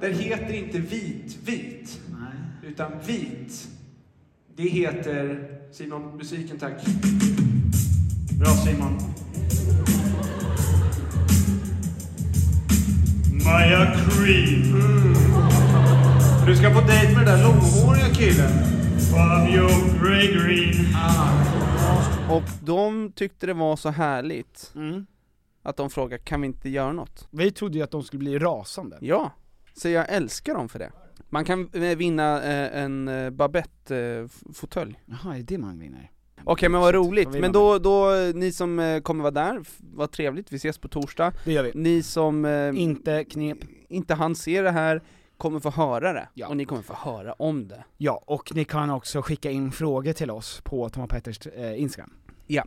Speaker 5: Den heter inte vit-vit, utan vit. Det heter... Simon, musiken tack. Bra Simon. Maja Cream. Du ska på dejt med den där långhåriga killen. Fabio Gregory.
Speaker 3: Och de tyckte det var så härligt, att de frågade kan vi inte göra något?
Speaker 2: Mm. Vi trodde ju att de skulle bli rasande.
Speaker 3: Ja, så jag älskar dem för det. Man kan eh, vinna eh, en eh, Babette-fåtölj.
Speaker 2: Jaha, är det det man vinner?
Speaker 3: Okej men vad roligt,
Speaker 2: Vad vill
Speaker 3: men
Speaker 2: man
Speaker 3: då, då, eh, ni som eh, kommer vara där, f- vad trevligt, vi ses på torsdag.
Speaker 2: Det gör vi.
Speaker 3: Ni som eh,
Speaker 2: Inte knep.
Speaker 3: inte hann se det här kommer få höra det,
Speaker 2: Ja.
Speaker 3: och ni kommer få höra om det.
Speaker 2: Ja, och ni kan också skicka in frågor till oss på Tom och Petters eh, Instagram.
Speaker 3: Ja.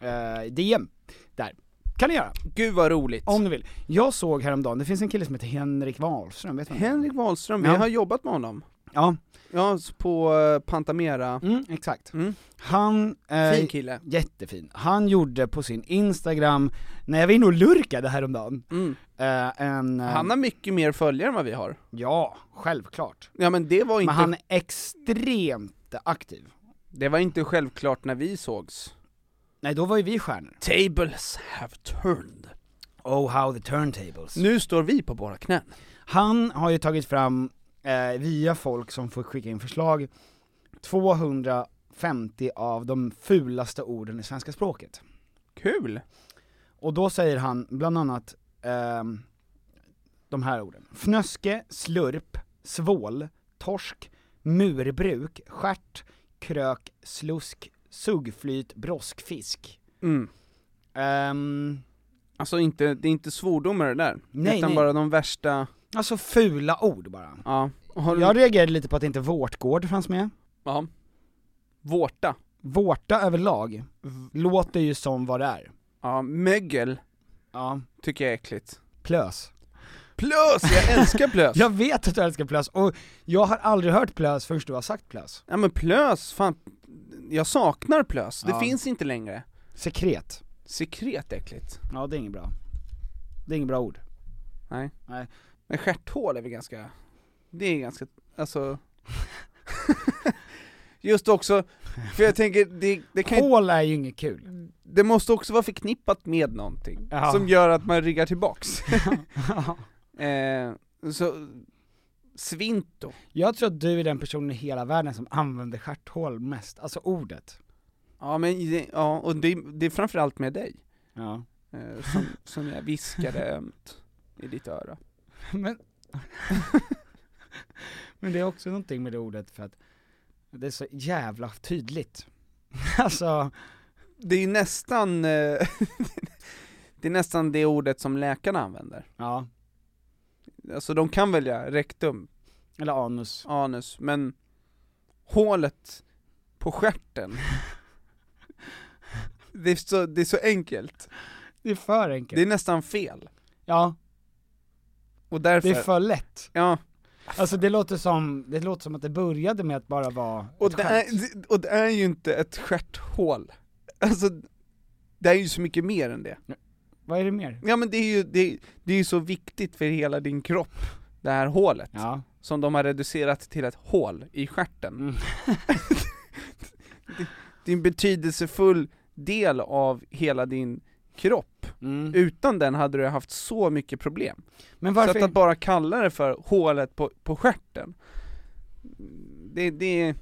Speaker 2: Eh, DM, där. Kan ni göra,
Speaker 3: Gud vad roligt!
Speaker 2: om ni vill. Jag såg häromdagen, det finns en kille som heter Henrik Wahlström, vet du vem det är?
Speaker 3: Henrik Wahlström,
Speaker 2: Ja.
Speaker 3: vi har jobbat med honom.
Speaker 2: Ja,
Speaker 3: Ja, s- på eh, Pantamera,
Speaker 2: mm, exakt.
Speaker 3: Mm.
Speaker 2: Han... eh,
Speaker 3: fin kille.
Speaker 2: Jättefin. Han gjorde på sin Instagram, när jag var inne och lurkade häromdagen,
Speaker 3: Mm.
Speaker 2: eh, en... eh,
Speaker 3: Han har mycket mer följare än vad vi har.
Speaker 2: Ja, självklart.
Speaker 3: Ja men det var inte,
Speaker 2: Men han är extremt aktiv.
Speaker 3: det var inte självklart när vi sågs.
Speaker 2: Nej, då var ju vi stjärnor.
Speaker 3: Tables have turned.
Speaker 2: Oh how the turntables.
Speaker 3: Nu står vi på våra knän.
Speaker 2: Han har ju tagit fram, eh, via folk som får skicka in förslag, 250 av de fulaste orden i svenska språket.
Speaker 3: Kul!
Speaker 2: Och då säger han bland annat ehm, de här orden. Fnöske, slurp, svål, torsk, murbruk, stjärt, krök, slusk, suggflyt, broskfisk.
Speaker 3: Mm.
Speaker 2: Ehm,
Speaker 3: Alltså inte, det är inte svordomar det där,
Speaker 2: Nej,
Speaker 3: utan
Speaker 2: nej.
Speaker 3: bara de värsta,
Speaker 2: alltså fula ord bara.
Speaker 3: ja. Har du...
Speaker 2: Jag reagerade lite på att inte Vårtgård fanns med.
Speaker 3: Ja. Vårta.
Speaker 2: Vårta överlag låter ju som vad det är.
Speaker 3: Ja, mögel
Speaker 2: Ja.
Speaker 3: tycker jag är äckligt.
Speaker 2: Plös.
Speaker 3: Plös! Jag älskar plös!
Speaker 2: Jag vet att du älskar plös, och jag har aldrig hört plös förrän du har sagt plös.
Speaker 3: Ja men plös, fan. Jag saknar plös, det
Speaker 2: Ja.
Speaker 3: finns inte längre.
Speaker 2: Sekret.
Speaker 3: Sekret äckligt.
Speaker 2: Ja, det är inget bra. Det är inget bra ord.
Speaker 3: Nej.
Speaker 2: Nej.
Speaker 3: Men stjärthål är väl ganska, det är ganska, alltså Just också, för jag tänker, det, det kan ju,
Speaker 2: Hål är ju inget kul.
Speaker 3: det måste också vara förknippat med någonting,
Speaker 2: Ja.
Speaker 3: som gör att man riggar tillbaks eh, Så, svinto,
Speaker 2: Jag tror att du är den personen i hela världen som använder stjärthål mest, alltså ordet.
Speaker 3: ja men, det- ja och det, det är framförallt med dig,
Speaker 2: Ja.
Speaker 3: eh, som, som jag viskade ömt i ditt öra
Speaker 2: Men, men det är också någonting med det ordet för att det är så jävla tydligt. Alltså,
Speaker 3: Det är ju nästan, eh, det är nästan det ordet som läkarna använder
Speaker 2: ja.
Speaker 3: Alltså de kan välja rektum,
Speaker 2: Eller anus.
Speaker 3: anus, men hålet på stjärten det, är så, det är så enkelt,
Speaker 2: Det är för enkelt.
Speaker 3: det är nästan fel,
Speaker 2: ja,
Speaker 3: och därför,
Speaker 2: det är för lätt.
Speaker 3: ja,
Speaker 2: Alltså det låter som, det låter som att det började med att bara vara
Speaker 3: och
Speaker 2: ett
Speaker 3: det, är,
Speaker 2: skämt.
Speaker 3: det- och det är ju inte ett stjärthål, alltså det är ju så mycket mer än det.
Speaker 2: Vad är det mer?
Speaker 3: Ja men det är ju, det, det är ju så viktigt för hela din kropp, det här hålet,
Speaker 2: Ja.
Speaker 3: som de har reducerat till ett hål i stjärten.
Speaker 2: Mm.
Speaker 3: Det är en betydelsefull del av hela din kropp.
Speaker 2: Mm.
Speaker 3: Utan den hade du haft så mycket problem.
Speaker 2: Men
Speaker 3: Så
Speaker 2: varför,
Speaker 3: att, att bara kalla det för hålet på, på stjärten, det, det, det är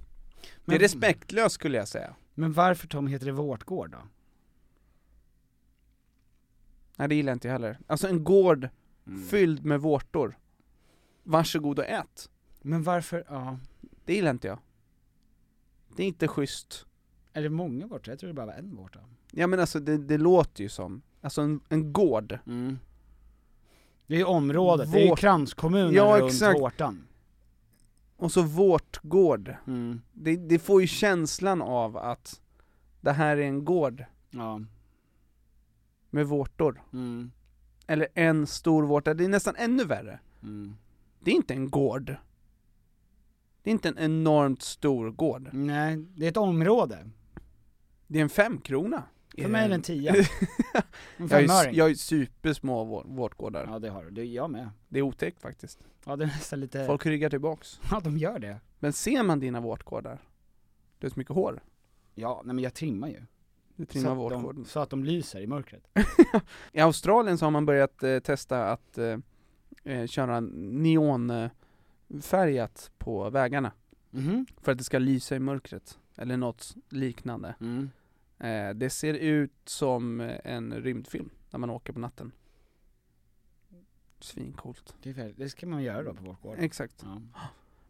Speaker 2: Men-
Speaker 3: respektlöst skulle jag säga.
Speaker 2: men varför Tom heter det Vårtgård då?
Speaker 3: Nej det gillar jag inte jag heller. Alltså en gård
Speaker 2: Mm.
Speaker 3: fylld med vårtor. Varsågod och ät.
Speaker 2: Men varför, ja.
Speaker 3: Det gillar inte jag. Det är inte schysst.
Speaker 2: Är det många vårtor? Jag tror det bara var en vårta.
Speaker 3: Ja men alltså det, det låter ju som, alltså en, en gård.
Speaker 2: Det är ju området, det är ju
Speaker 3: Mm. Vårt-
Speaker 2: kranskommunen
Speaker 3: Ja,
Speaker 2: runt
Speaker 3: exakt.
Speaker 2: vårtan.
Speaker 3: Och så vårtgård. Det, det får ju känslan av att det här är en gård
Speaker 2: Ja.
Speaker 3: med vårtor. Eller en stor vårta, det är nästan ännu värre. Det är inte en gård. Det är inte en enormt stor gård.
Speaker 2: Nej, det är ett område.
Speaker 3: Det är en femkrona.
Speaker 2: För mig är det en tia. En
Speaker 3: Eh, jag, är,
Speaker 2: femöring.
Speaker 3: jag är supersmå vår- vårtgårdar.
Speaker 2: Ja det har du, det är jag med.
Speaker 3: Det är otäckt faktiskt.
Speaker 2: Ja det är nästan lite,
Speaker 3: Folk ryggar tillbaks.
Speaker 2: ja de gör det.
Speaker 3: Men ser man dina vårtgårdar, det är så mycket hår.
Speaker 2: Ja, nej men jag trimmar ju.
Speaker 3: Du
Speaker 2: så,
Speaker 3: trimmar
Speaker 2: att de,
Speaker 3: vårtgården.
Speaker 2: så att de lyser i mörkret.
Speaker 3: I Australien så har man börjat eh, testa att eh, eh, köra neonfärgat på vägarna
Speaker 2: Mhm.
Speaker 3: för att det ska lysa i mörkret eller något liknande.
Speaker 2: Mm.
Speaker 3: Eh, det ser ut som eh, en rymdfilm när man åker på natten. Svincoolt.
Speaker 2: Det, är väl- det ska man göra då på vårtgården.
Speaker 3: Exakt.
Speaker 2: Ja.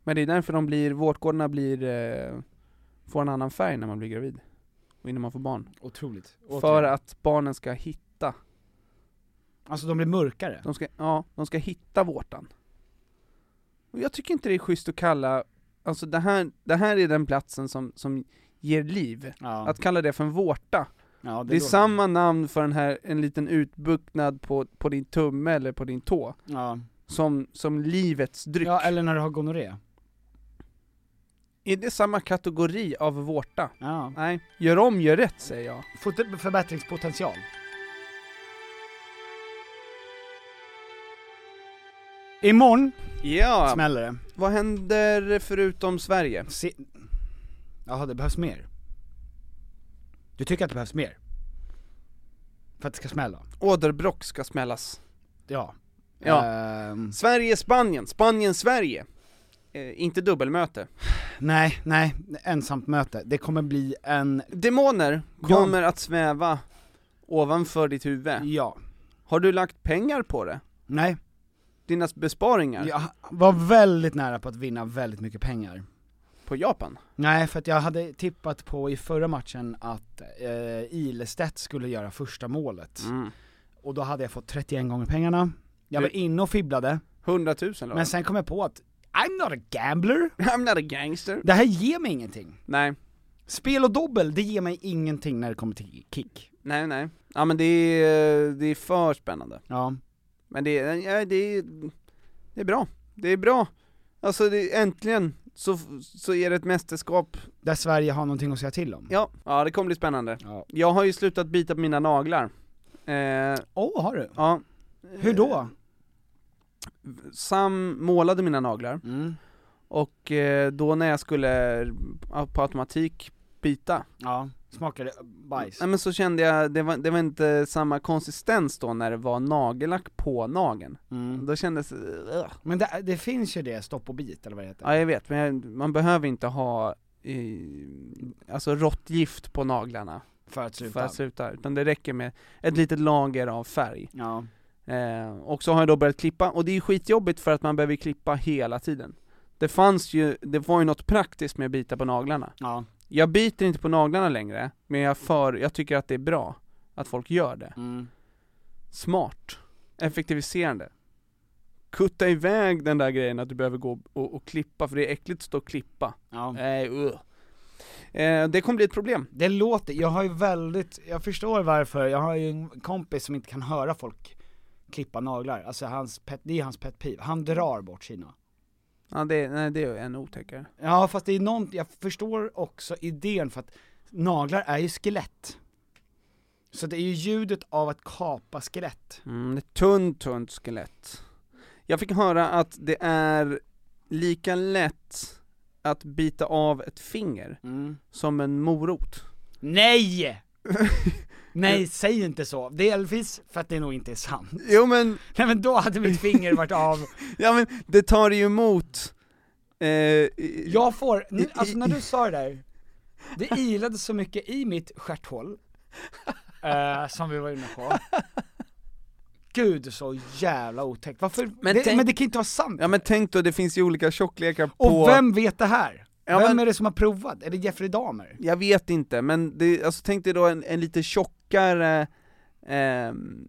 Speaker 3: Men det är därför de blir, vårtgårdarna blir, eh, får en annan färg när man blir gravid och innan man får barn.
Speaker 2: Otroligt.
Speaker 3: För
Speaker 2: Återigen.
Speaker 3: att barnen ska hitta,
Speaker 2: Alltså de blir mörkare.
Speaker 3: de ska, ja, de ska hitta vårtan. Och jag tycker inte det är schysst att kalla, alltså det här, det här är den platsen som, som ger liv.
Speaker 2: Ja.
Speaker 3: Att kalla det för en vårta, det
Speaker 2: ja,
Speaker 3: är
Speaker 2: låter-
Speaker 3: samma namn för den här, en liten utbuktnad på, på din tumme eller på din tå,
Speaker 2: Ja.
Speaker 3: som, som livets dryck.
Speaker 2: ja, eller när du har gonorré.
Speaker 3: Är det samma kategori av vårta?
Speaker 2: Ja.
Speaker 3: Nej, gör om, gör rätt säger jag.
Speaker 2: Fot- förbättringspotential. Imorgon
Speaker 3: Ja,
Speaker 2: smäller det.
Speaker 3: vad händer förutom Sverige?
Speaker 2: Se- Jaha, det behövs mer. Du tycker att det behövs mer? För att det ska smälla?
Speaker 3: Åderbrock ska smällas. Eh,
Speaker 2: Ja.
Speaker 3: Ja.
Speaker 2: Ehm,
Speaker 3: Sverige-Spanien, Spanien-Sverige. Eh, inte dubbelmöte.
Speaker 2: nej, nej, ensamt möte. Det kommer bli en,
Speaker 3: Demoner kommer att sväva ovanför ditt huvud.
Speaker 2: ja,
Speaker 3: Har du lagt pengar på det?
Speaker 2: nej.
Speaker 3: Dina besparingar
Speaker 2: Jag var väldigt nära på att vinna väldigt mycket pengar.
Speaker 3: på Japan?
Speaker 2: Nej, för att jag hade tippat på i förra matchen att eh, Ilestedt skulle göra första målet.
Speaker 3: Mm.
Speaker 2: Och då hade jag fått 31 gånger pengarna. Jag var
Speaker 3: Du-
Speaker 2: inne och fibblade,
Speaker 3: 100 000 la
Speaker 2: men sen kom jag på att I'm not a gambler.
Speaker 3: I'm not a gangster.
Speaker 2: Det här ger mig ingenting.
Speaker 3: Nej,
Speaker 2: Spel och dobbel, det ger mig ingenting när det kommer till kick.
Speaker 3: nej, nej. Ja men det är, det är för spännande.
Speaker 2: Ja.
Speaker 3: Men det är, ja, det är, det är bra. Det är bra. Alltså det, äntligen så, så är det ett mästerskap.
Speaker 2: Där Sverige har någonting att säga till om.
Speaker 3: Ja, ja det kommer bli spännande.
Speaker 2: Ja.
Speaker 3: Jag har ju slutat bita på mina naglar. Eh,
Speaker 2: Åh, har du?
Speaker 3: ja, Eh,
Speaker 2: Hur då?
Speaker 3: Sam målade mina naglar.
Speaker 2: Mm.
Speaker 3: Och eh, då när jag skulle eh, på automatik bita,
Speaker 2: Ja. Smakade bajs.
Speaker 3: nej men så kände jag, det var, det var inte samma konsistens då när det var nagellack på nageln.
Speaker 2: Mm.
Speaker 3: Då kändes, ugh.
Speaker 2: Men det, det finns ju det, stopp och bit eller vad det heter.
Speaker 3: ja jag vet, men jag, man behöver inte ha eh, alltså råttgift på naglarna
Speaker 2: För att sluta.
Speaker 3: för att sluta, utan det räcker med ett litet lager av färg.
Speaker 2: Ja.
Speaker 3: Eh, och så har jag då börjat klippa, och det är ju skitjobbigt för att man behöver klippa hela tiden. Det fanns ju, det var ju något praktiskt med att bita på naglarna.
Speaker 2: Ja.
Speaker 3: Jag biter inte på naglarna längre, men jag, för, jag tycker att det är bra att folk gör det.
Speaker 2: Mm.
Speaker 3: Smart. Effektiviserande. Kutta iväg den där grejen att du behöver gå och, och klippa, för det är äckligt att stå och klippa.
Speaker 2: ja.
Speaker 3: Nej, ugh. eh, det kommer bli ett problem.
Speaker 2: Det låter, jag har ju väldigt, jag förstår varför, jag har ju en kompis som inte kan höra folk klippa naglar, alltså hans pet, det är hans pet peeve, han drar bort sina.
Speaker 3: Ja, det, nej, det är en otäckare.
Speaker 2: Ja fast det är någon, jag förstår också idén för att naglar är ju skelett. Så det är ju ljudet av att kapa skelett.
Speaker 3: Mm, ett tunt, tunt skelett. Jag fick höra att det är lika lätt att bita av ett finger
Speaker 2: Mm.
Speaker 3: som en morot.
Speaker 2: Nej! Nej, säg inte så. Delvis för att det nog inte är sant.
Speaker 3: Jo men
Speaker 2: Nej men då hade mitt finger varit av.
Speaker 3: Ja men det tar ju emot eh, i-
Speaker 2: Jag får, nu, alltså när du sa det där, det ilade så mycket i mitt stjärthål, eh, som vi var inne på. Gud så jävla otäckt, varför? Men
Speaker 3: Men
Speaker 2: det,
Speaker 3: tänk-
Speaker 2: men det kan inte vara sant!
Speaker 3: Ja men tänk då, det finns ju olika tjocklekar
Speaker 2: och
Speaker 3: på...
Speaker 2: vem vet det här?
Speaker 3: Ja,
Speaker 2: vem
Speaker 3: men-
Speaker 2: är det som har provat? Är det Jeffrey Dahmer?
Speaker 3: Jag vet inte, men det, alltså tänk dig då en, en lite tjockare... ehm,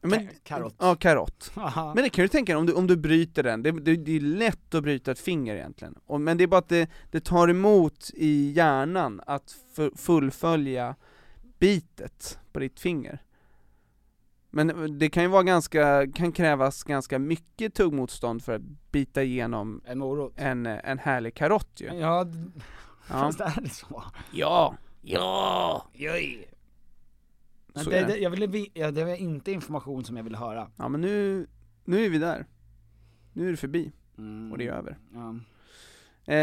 Speaker 3: ja, men,
Speaker 2: Ka- karott.
Speaker 3: Ja, karott.
Speaker 2: Aha.
Speaker 3: Men det kan du tänka dig, om du, om du bryter den, det, det, det är lätt att bryta ett finger egentligen. Och, men det är bara att det, det tar emot i hjärnan att fu- fullfölja bitet på ditt finger. Men eh, det kan ju vara ganska, kan krävas ganska mycket tuggmotstånd för att bita igenom
Speaker 2: En morot?
Speaker 3: en, en härlig karott ju.
Speaker 2: Ja,
Speaker 3: Ja.
Speaker 2: fast är det så?
Speaker 3: Ja! Ja!
Speaker 2: Men
Speaker 3: Så
Speaker 2: det,
Speaker 3: är
Speaker 2: det,
Speaker 3: det.
Speaker 2: jag ville, vi- ja, det var inte information som jag ville höra.
Speaker 3: Ja men nu, nu är vi där. Nu är det förbi,
Speaker 2: Mm,
Speaker 3: och det är över.
Speaker 2: ja.
Speaker 3: Eh,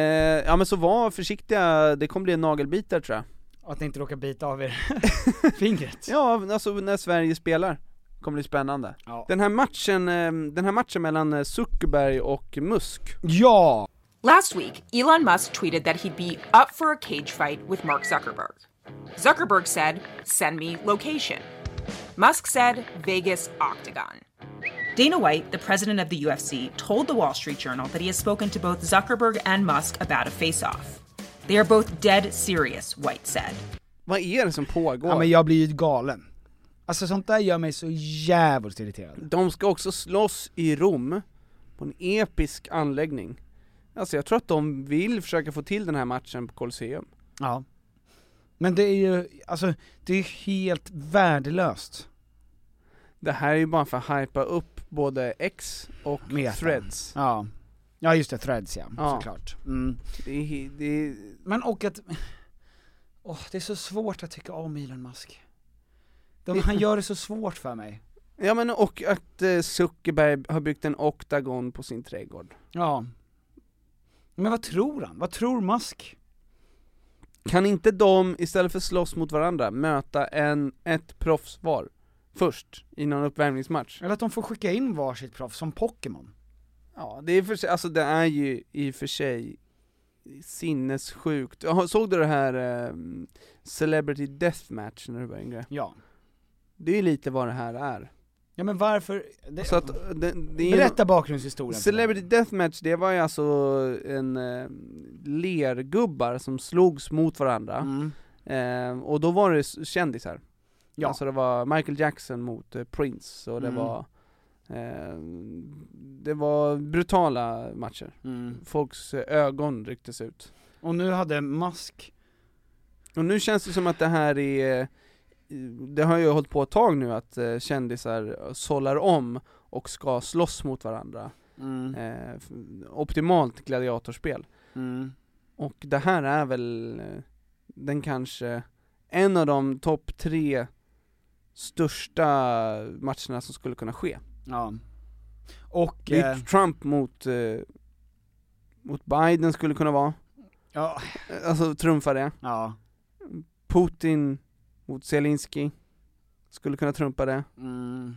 Speaker 3: ja men så var försiktiga, det kommer bli en nagelbit där tror jag.
Speaker 2: Och att ni inte råkar bita av er fingret.
Speaker 3: Ja, alltså när Sverige spelar, kommer bli spännande.
Speaker 2: Ja.
Speaker 3: Den här matchen, eh, den här matchen mellan eh, Zuckerberg och Musk,
Speaker 2: ja!
Speaker 6: Last week, Elon Musk tweeted that he'd be up for a cage fight with Mark Zuckerberg. Zuckerberg said, Send me location. Musk said, Vegas Octagon. Dana White, the president of the UFC, told the Wall Street Journal that he has spoken to both Zuckerberg and Musk about a face off. They are both dead serious, White said.
Speaker 3: vad är det som pågår?
Speaker 2: Ja men jag blir ju galen. Alltså sånt där gör mig så jävligt irriterad.
Speaker 3: De ska också slåss i Rom, på en episk anläggning. Alltså jag tror att de vill försöka få till den här matchen på Colosseum.
Speaker 2: Ja. Men det är ju, alltså det är helt värdelöst.
Speaker 3: Det här är ju bara för att hypa upp både X och
Speaker 2: Meta.
Speaker 3: Threads.
Speaker 2: Ja. Ja just det, threads ja,
Speaker 3: Ja.
Speaker 2: såklart. Mm.
Speaker 3: Det är, det är,
Speaker 2: Men och att, åh det är så svårt att tycka om Elon Musk. De, han gör det så svårt för mig.
Speaker 3: ja men och att eh, Zuckerberg har byggt en oktagon på sin trädgård.
Speaker 2: Ja. Men vad tror han? Vad tror Musk?
Speaker 3: Kan inte de, istället för slåss mot varandra, möta en, ett proffs var? Först, i någon uppvärmningsmatch?
Speaker 2: Eller att de får skicka in varsitt proffs som Pokémon?
Speaker 3: Ja, det är för sig, alltså det är ju i och för sig sinnessjukt. Jaha, Såg du det här eh, Celebrity Deathmatch när du var yngre?
Speaker 2: Ja.
Speaker 3: Det är ju lite vad det här är.
Speaker 2: Ja men varför? Det,
Speaker 3: Så att, eh, det, det är
Speaker 2: berätta bakgrundshistorien. för mig.
Speaker 3: Celebrity Deathmatch, det var ju alltså en eh, lergubbar som slogs mot varandra,
Speaker 2: Mm.
Speaker 3: eh, och då var det s- kändisar.
Speaker 2: Ja.
Speaker 3: Alltså det var Michael Jackson mot eh, Prince, och det
Speaker 2: Mm.
Speaker 3: var Eh, Det var brutala matcher.
Speaker 2: Mm.
Speaker 3: Folks eh, ögon rycktes ut.
Speaker 2: Och nu hade Musk,
Speaker 3: Och nu känns det som att det här är, eh, det har ju hållit på ett tag nu att eh, kändisar sållar om och ska slåss mot varandra.
Speaker 2: mm.
Speaker 3: Eh, f- optimalt gladiatorspel.
Speaker 2: Mm.
Speaker 3: Och det här är väl eh, den kanske, en av de topp tre största matcherna som skulle kunna ske.
Speaker 2: ja. Och,
Speaker 3: Det är
Speaker 2: eh,
Speaker 3: ju Trump mot, eh, mot Biden skulle kunna vara,
Speaker 2: ja,
Speaker 3: Eh, alltså trumfa det.
Speaker 2: ja,
Speaker 3: Putin mot Zelensky skulle kunna trumpa det,
Speaker 2: mm.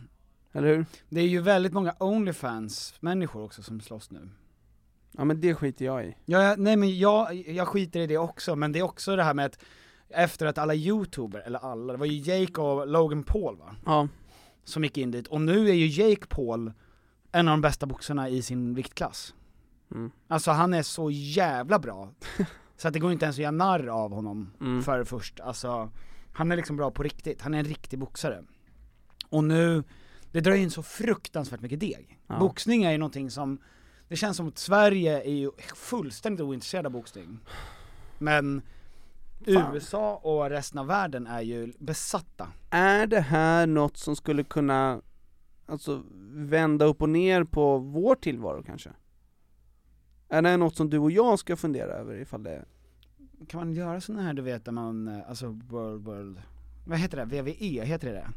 Speaker 3: eller hur?
Speaker 2: Det är ju väldigt många Onlyfans-människor också som slåss nu.
Speaker 3: Ja men det skiter jag i.
Speaker 2: Ja, ja, nej men jag, jag skiter i det också, men det är också det här med att efter att alla youtuber, eller alla, det var ju Jake och Logan Paul va,
Speaker 3: Ja.
Speaker 2: som gick in dit, och nu är ju Jake Paul en av de bästa boxarna i sin viktklass.
Speaker 3: Mm.
Speaker 2: Alltså han är så jävla bra, så att det går inte ens att göra narr av honom
Speaker 3: Mm.
Speaker 2: för först, alltså han är liksom bra på riktigt, han är en riktig boxare. Och nu, det drar in så fruktansvärt mycket deg.
Speaker 3: Ja.
Speaker 2: Boxning är ju någonting som, det känns som att Sverige är ju fullständigt ointresserad av boxning. Men
Speaker 3: Fan.
Speaker 2: USA och resten av världen är ju besatta.
Speaker 3: Är det här något som skulle kunna, alltså vända upp och ner på vår tillvaro kanske? Är det här något som du och jag ska fundera över ifall det,
Speaker 2: Kan man göra sådana här du vet, där man, eh, alltså world, world, vad heter det? VVE, heter det det?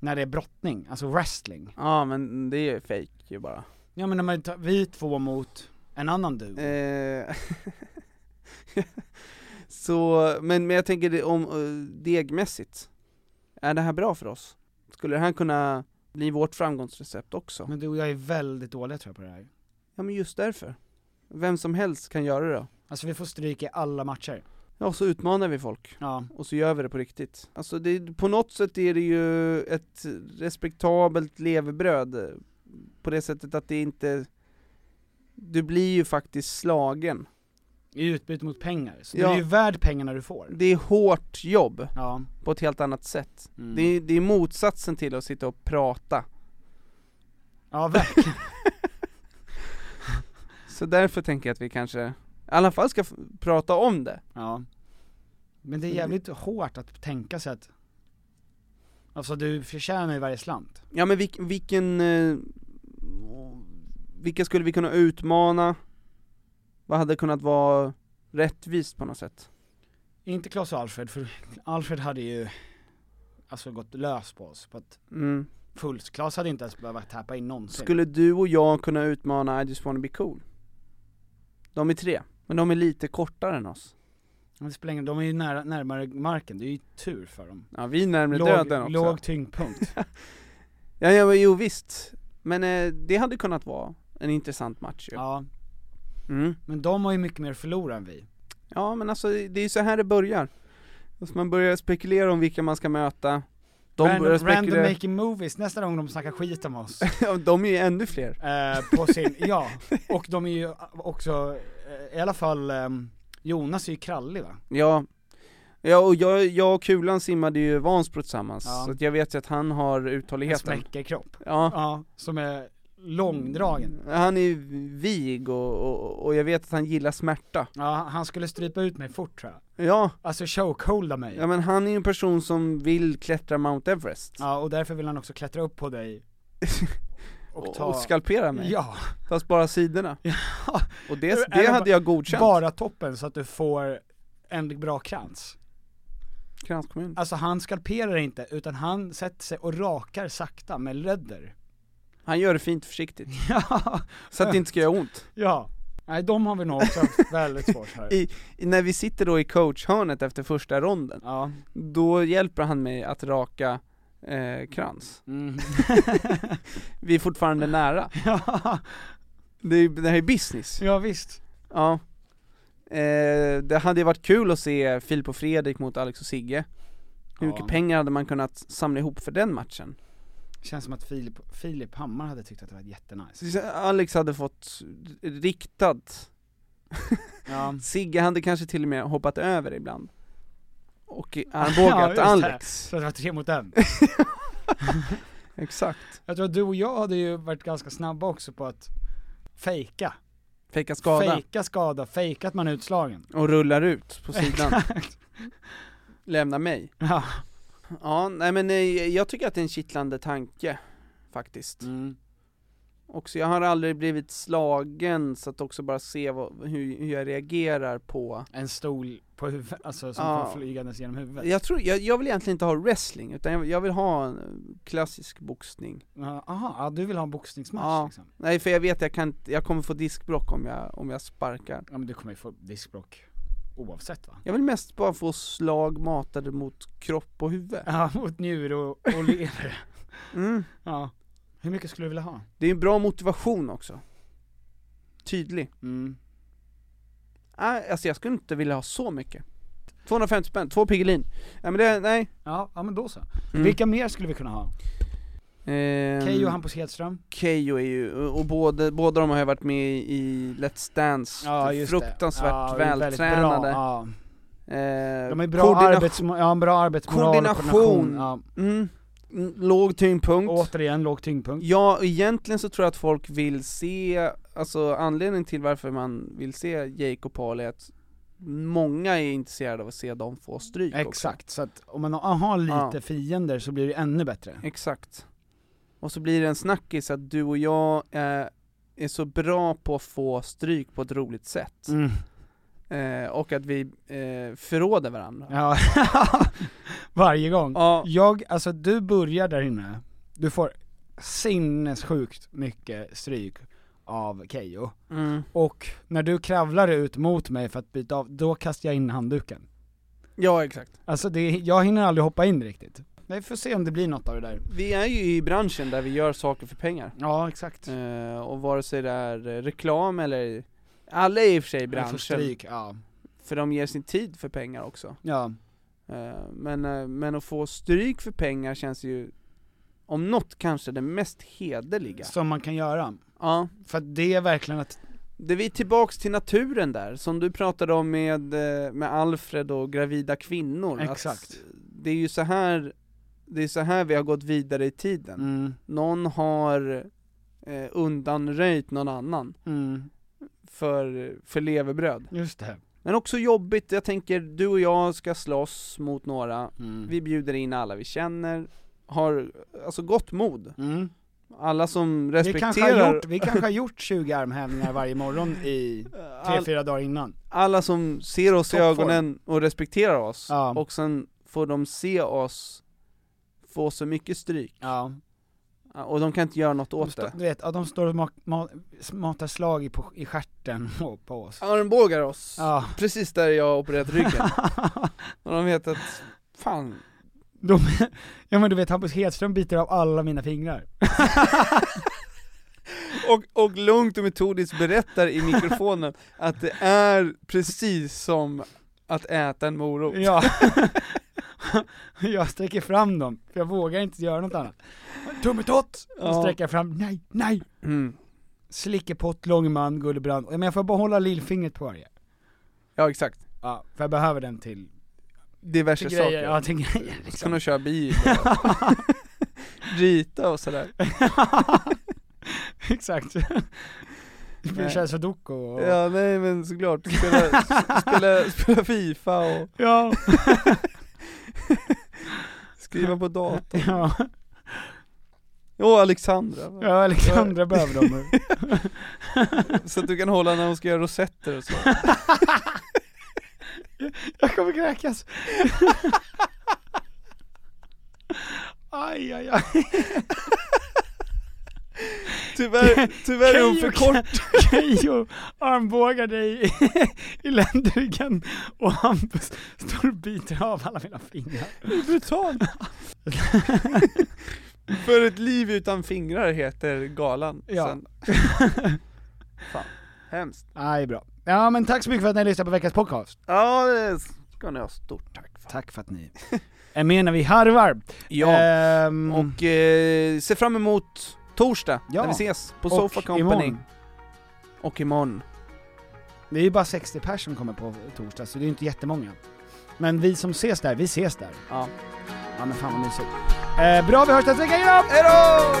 Speaker 2: När det är brottning, alltså wrestling.
Speaker 3: ja men det är ju fake ju bara.
Speaker 2: Ja men när man tar, vi två mot en annan du.
Speaker 3: Eh, Så, men, men jag tänker det om eh, degmässigt, är det här bra för oss? Skulle det här kunna bli vårt framgångsrecept också?
Speaker 2: Men du och jag är väldigt dåliga tror jag på det här.
Speaker 3: Ja men just därför. Vem som helst kan göra det då.
Speaker 2: Alltså vi får stryk i alla matcher.
Speaker 3: Ja, så utmanar vi folk.
Speaker 2: Ja.
Speaker 3: Och så gör vi det på riktigt. Alltså det, på något sätt är det ju ett respektabelt levebröd. eh, På det sättet att det inte... Du blir ju faktiskt slagen.
Speaker 2: I utbyte mot pengar. Så
Speaker 3: Ja.
Speaker 2: du är ju värd pengarna du får.
Speaker 3: Det är hårt jobb
Speaker 2: Ja.
Speaker 3: på ett helt annat sätt.
Speaker 2: Mm.
Speaker 3: Det, är, det är motsatsen till att sitta och prata.
Speaker 2: Ja verkligen.
Speaker 3: Så därför tänker jag att vi kanske i alla fall ska f- prata om det.
Speaker 2: ja. Men det är jävligt hårt att tänka sig att Alltså du förtjänar ju varje slant.
Speaker 3: Ja men vilk, vilken, eh, vilka skulle vi kunna utmana? Vad hade kunnat vara rättvist på något sätt?
Speaker 2: Inte Claes och Alfred, för Alfred hade ju Alltså gått lös på oss på att
Speaker 3: Mm.
Speaker 2: fullt Claes hade inte ens behövt tappa in någonsin.
Speaker 3: Skulle du och jag kunna utmana I just wanna be cool? De är tre, men de är lite kortare än oss.
Speaker 2: Men Det spelar ingen de är ju nära, närmare marken, det är ju tur för dem.
Speaker 3: Ja vi är närmare döden också.
Speaker 2: Låg, låg tyngdpunkt.
Speaker 3: Ja, ja men jo visst, men eh, det hade kunnat vara en intressant match ju. Ja.
Speaker 2: ja.
Speaker 3: Mm.
Speaker 2: Men de har ju mycket mer att förlora än vi.
Speaker 3: ja men alltså det är ju så här det börjar. Alltså, man börjar spekulera om vilka man ska möta. De börjar
Speaker 2: random,
Speaker 3: spekulera,
Speaker 2: random making movies, nästa gång de snackar skit om oss.
Speaker 3: Ja, de är ju ännu fler.
Speaker 2: eh, på sin, ja. Och de är ju också, eh, i alla fall ehm, Jonas är ju krallig va?
Speaker 3: Ja, ja och jag, jag och Kulan simmade ju i Vansbro tillsammans,
Speaker 2: Ja.
Speaker 3: så att jag vet ju att han har
Speaker 2: En
Speaker 3: uthålligheten.
Speaker 2: smäckerkropp.
Speaker 3: Ja.
Speaker 2: Ja, som är långdragen.
Speaker 3: Han är ju vig och, och, och jag vet att han gillar smärta.
Speaker 2: Ja, han skulle strypa ut mig fort tror jag.
Speaker 3: Ja,
Speaker 2: Alltså chokeholda mig.
Speaker 3: ja men han är ju en person som vill klättra Mount Everest.
Speaker 2: Ja, och därför vill han också klättra upp på dig. Och
Speaker 3: Och,
Speaker 2: ta...
Speaker 3: och skalpera mig,
Speaker 2: Ja,
Speaker 3: fast bara sidorna. Och det, det
Speaker 2: Eller
Speaker 3: hade jag godkänt.
Speaker 2: bara toppen så att du får en bra krans.
Speaker 3: Krans kommun.
Speaker 2: Alltså han skalperar inte, utan han sätter sig och rakar sakta med lödder.
Speaker 3: Han gör det fint försiktigt,
Speaker 2: Ja,
Speaker 3: så att det inte ska göra ont.
Speaker 2: ja. Nej de har vi nog också väldigt svårt för.
Speaker 3: I, när vi sitter då i coachhörnet efter första ronden,
Speaker 2: Ja.
Speaker 3: då hjälper han mig att raka eh, krans.
Speaker 2: Mm.
Speaker 3: vi är fortfarande nära.
Speaker 2: ja.
Speaker 3: Det, är, det här är business.
Speaker 2: ja visst.
Speaker 3: Ja. Eh, det hade ju varit kul att se Filip och Fredrik mot Alex och Sigge. Hur
Speaker 2: Ja.
Speaker 3: mycket pengar hade man kunnat samla ihop för den matchen?
Speaker 2: Känns som att Filip, Filip Hammar hade tyckt att det var jättenice.
Speaker 3: Så Alex hade fått riktat.
Speaker 2: Ja.
Speaker 3: Sigge hade kanske till och med hoppat över ibland. Och
Speaker 2: Ja,
Speaker 3: armbågat
Speaker 2: just det.
Speaker 3: Alex.
Speaker 2: Så det var tre mot en.
Speaker 3: Exakt.
Speaker 2: Jag tror att du och jag hade ju varit ganska snabba också på att fejka.
Speaker 3: Fejka skada
Speaker 2: Fejka skada, fejka att man är utslagen.
Speaker 3: och rullar ut på sidan.
Speaker 2: Exakt.
Speaker 3: Lämna mig.
Speaker 2: Ja.
Speaker 3: Ja, nej men eh, jag tycker att det är en kittlande tanke faktiskt.
Speaker 2: Mm.
Speaker 3: Också, jag har aldrig blivit slagen så att också bara se vad, hur, hur jag reagerar på
Speaker 2: En stol på huvudet, alltså som
Speaker 3: Ja.
Speaker 2: kommer flygandes genom huvudet.
Speaker 3: jag, tror, jag, jag vill egentligen inte ha wrestling, utan jag, jag vill ha en eh, klassisk boxning
Speaker 2: Ja, Aha, ja, du vill ha en boxningsmatch
Speaker 3: Ja.
Speaker 2: liksom?
Speaker 3: Nej för jag vet att jag kan inte- jag kommer få diskbråck om jag, om jag sparkar
Speaker 2: Ja men du kommer ju få diskbråck oavsett va?
Speaker 3: Jag vill mest bara få slag matade mot kropp och huvud
Speaker 2: Ja, mot njure och, och lever.
Speaker 3: mm.
Speaker 2: Ja. Hur mycket skulle du vilja ha?
Speaker 3: Det är en bra motivation också Tydlig
Speaker 2: Mm.
Speaker 3: Nej, Alltså jag skulle inte vilja ha så mycket 250 spänn, två Piggelin Ja men det, nej
Speaker 2: Ja, ja men då så.
Speaker 3: Mm.
Speaker 2: Vilka mer skulle vi kunna ha?
Speaker 3: Ehm,
Speaker 2: Keyyo och Hampus Hedström?
Speaker 3: Keyyo är ju, och båda, båda de har ju varit med i Let's Dance, fruktansvärt
Speaker 2: det är väldigt bra.
Speaker 3: vältränade
Speaker 2: Ja.
Speaker 3: Eh,
Speaker 2: De har ju bra
Speaker 3: koordina-
Speaker 2: arbetsmo- ja, en bra arbetsmoral och
Speaker 3: Koordination.
Speaker 2: koordination. Ja.
Speaker 3: Mm. N- Låg tyngdpunkt.
Speaker 2: Återigen låg tyngdpunkt.
Speaker 3: Ja, egentligen så tror jag att folk vill se, alltså anledningen till varför man vill se Jake och Paul är att många är intresserade av att se dem få stryk också.
Speaker 2: Exakt, så att om man har lite
Speaker 3: Ja.
Speaker 2: fiender så blir det ännu bättre.
Speaker 3: Exakt. Och så blir det en snackis att du och jag är, är så bra på att få stryk på ett roligt sätt.
Speaker 2: Mm.
Speaker 3: Eh, och att vi eh, förråder varandra.
Speaker 2: Ja, varje gång.
Speaker 3: Ja,
Speaker 2: Jag, alltså du börjar där inne, du får sinnessjukt mycket stryk av Kejo
Speaker 3: mm.
Speaker 2: Och när du kravlar ut mot mig för att byta av, då kastar jag in handduken.
Speaker 3: ja exakt.
Speaker 2: Alltså det, jag hinner aldrig hoppa in riktigt. Vi får se om det blir något av det där.
Speaker 3: Vi är ju i branschen där vi gör saker för pengar.
Speaker 2: Ja, exakt.
Speaker 3: Eh, och vare sig det är eh, reklam eller, alla är i och för sig i
Speaker 2: Jag får
Speaker 3: branschen,
Speaker 2: stryk, ja.
Speaker 3: för de ger sin tid för pengar också.
Speaker 2: Ja,
Speaker 3: Eh, men, eh, men att få stryk för pengar känns ju, om något kanske det mest hederliga.
Speaker 2: som man kan göra.
Speaker 3: Ja,
Speaker 2: För att det är verkligen att,
Speaker 3: det vi är tillbaks till naturen där, som du pratade om med, eh, med Alfred och gravida kvinnor. att
Speaker 2: Exakt.
Speaker 3: Det är ju så här, det är så här vi har gått vidare i tiden.
Speaker 2: mm,
Speaker 3: Någon har eh, undanröjt någon annan
Speaker 2: mm,
Speaker 3: för, för levebröd.
Speaker 2: just det.
Speaker 3: Men också jobbigt, jag tänker du och jag ska slåss mot några,
Speaker 2: Mm.
Speaker 3: vi bjuder in alla vi känner, har alltså gott mod.
Speaker 2: Mm.
Speaker 3: Alla som
Speaker 2: Vi kanske, har
Speaker 3: respekterar,
Speaker 2: gjort, vi kanske har gjort 20 armhävningar varje morgon i
Speaker 3: all,
Speaker 2: 3-4 dagar innan.
Speaker 3: alla som ser oss i
Speaker 2: Toppform.
Speaker 3: ögonen och respekterar oss,
Speaker 2: Ja.
Speaker 3: och sen får de se oss få så mycket stryk,
Speaker 2: Ja.
Speaker 3: och de kan inte göra något
Speaker 2: De
Speaker 3: åt
Speaker 2: stå,
Speaker 3: det.
Speaker 2: du vet, ja, de står och ma- ma- matar slag i, på, i stjärten och på oss.
Speaker 3: Armbågar oss,
Speaker 2: Ja.
Speaker 3: precis där jag har opererat ryggen, och de vet att, fan,
Speaker 2: De, ja men du vet Hampus Hedström biter av alla mina fingrar.
Speaker 3: och, och lugnt och metodiskt berättar i mikrofonen att det är precis som att äta en morot.
Speaker 2: Ja. jag sträcker fram dem, för jag vågar inte göra något annat. Tummetott!
Speaker 3: Ja.
Speaker 2: Och sträcker jag fram, nej, nej!
Speaker 3: Mm.
Speaker 2: Slickepott, långman, gullebrand. Ja, Men jag får behålla lillfingret på varje.
Speaker 3: Ja exakt,
Speaker 2: Ja, för jag behöver den till,
Speaker 3: diverse
Speaker 2: till
Speaker 3: saker.
Speaker 2: grejer. Ja, till grejer
Speaker 3: Ska
Speaker 2: liksom.
Speaker 3: nog köra bil och rita och sådär.
Speaker 2: Exakt. Det blir
Speaker 3: Nej.
Speaker 2: såhär sudoku och...
Speaker 3: Ja nej men såklart, spela, spela, spela FIFA och
Speaker 2: ja.
Speaker 3: skriva på datorn.
Speaker 2: ja.
Speaker 3: Och Alexandra,
Speaker 2: Ja, Alexandra behöver dem.
Speaker 3: så att du kan hålla när hon ska göra rosetter och så.
Speaker 2: Jag kommer kräkas. aj, aj, aj.
Speaker 3: Tyvärr, tyvärr är hon för
Speaker 2: Keyyo-
Speaker 3: kort.
Speaker 2: Keyyo armbågar dig i, i ländryggen och Hampus står och biter av alla mina fingrar.
Speaker 3: Brutalt. För ett liv utan fingrar heter galan.
Speaker 2: Ja.
Speaker 3: Sen. Fan, hemskt.
Speaker 2: Aj, bra. Ja men tack så mycket för att ni lyssnade på veckans podcast.
Speaker 3: Ja, det ska ni ha stort tack för.
Speaker 2: Tack för att ni är med när vi harvar.
Speaker 3: Ja,
Speaker 2: Ehm,
Speaker 3: och eh, se fram emot torsdag
Speaker 2: Ja.
Speaker 3: när vi ses på
Speaker 2: och
Speaker 3: Sofa Company.
Speaker 2: imorgon.
Speaker 3: Och imorgon.
Speaker 2: Det är ju bara 60 pers som kommer på torsdag så det är ju inte jättemånga. Men vi som ses där, vi ses där.
Speaker 3: Ja.
Speaker 2: Ja men fan vad mysigt. Eh, bra, vi hörs nästa vecka, hejdå!
Speaker 3: Hejdå!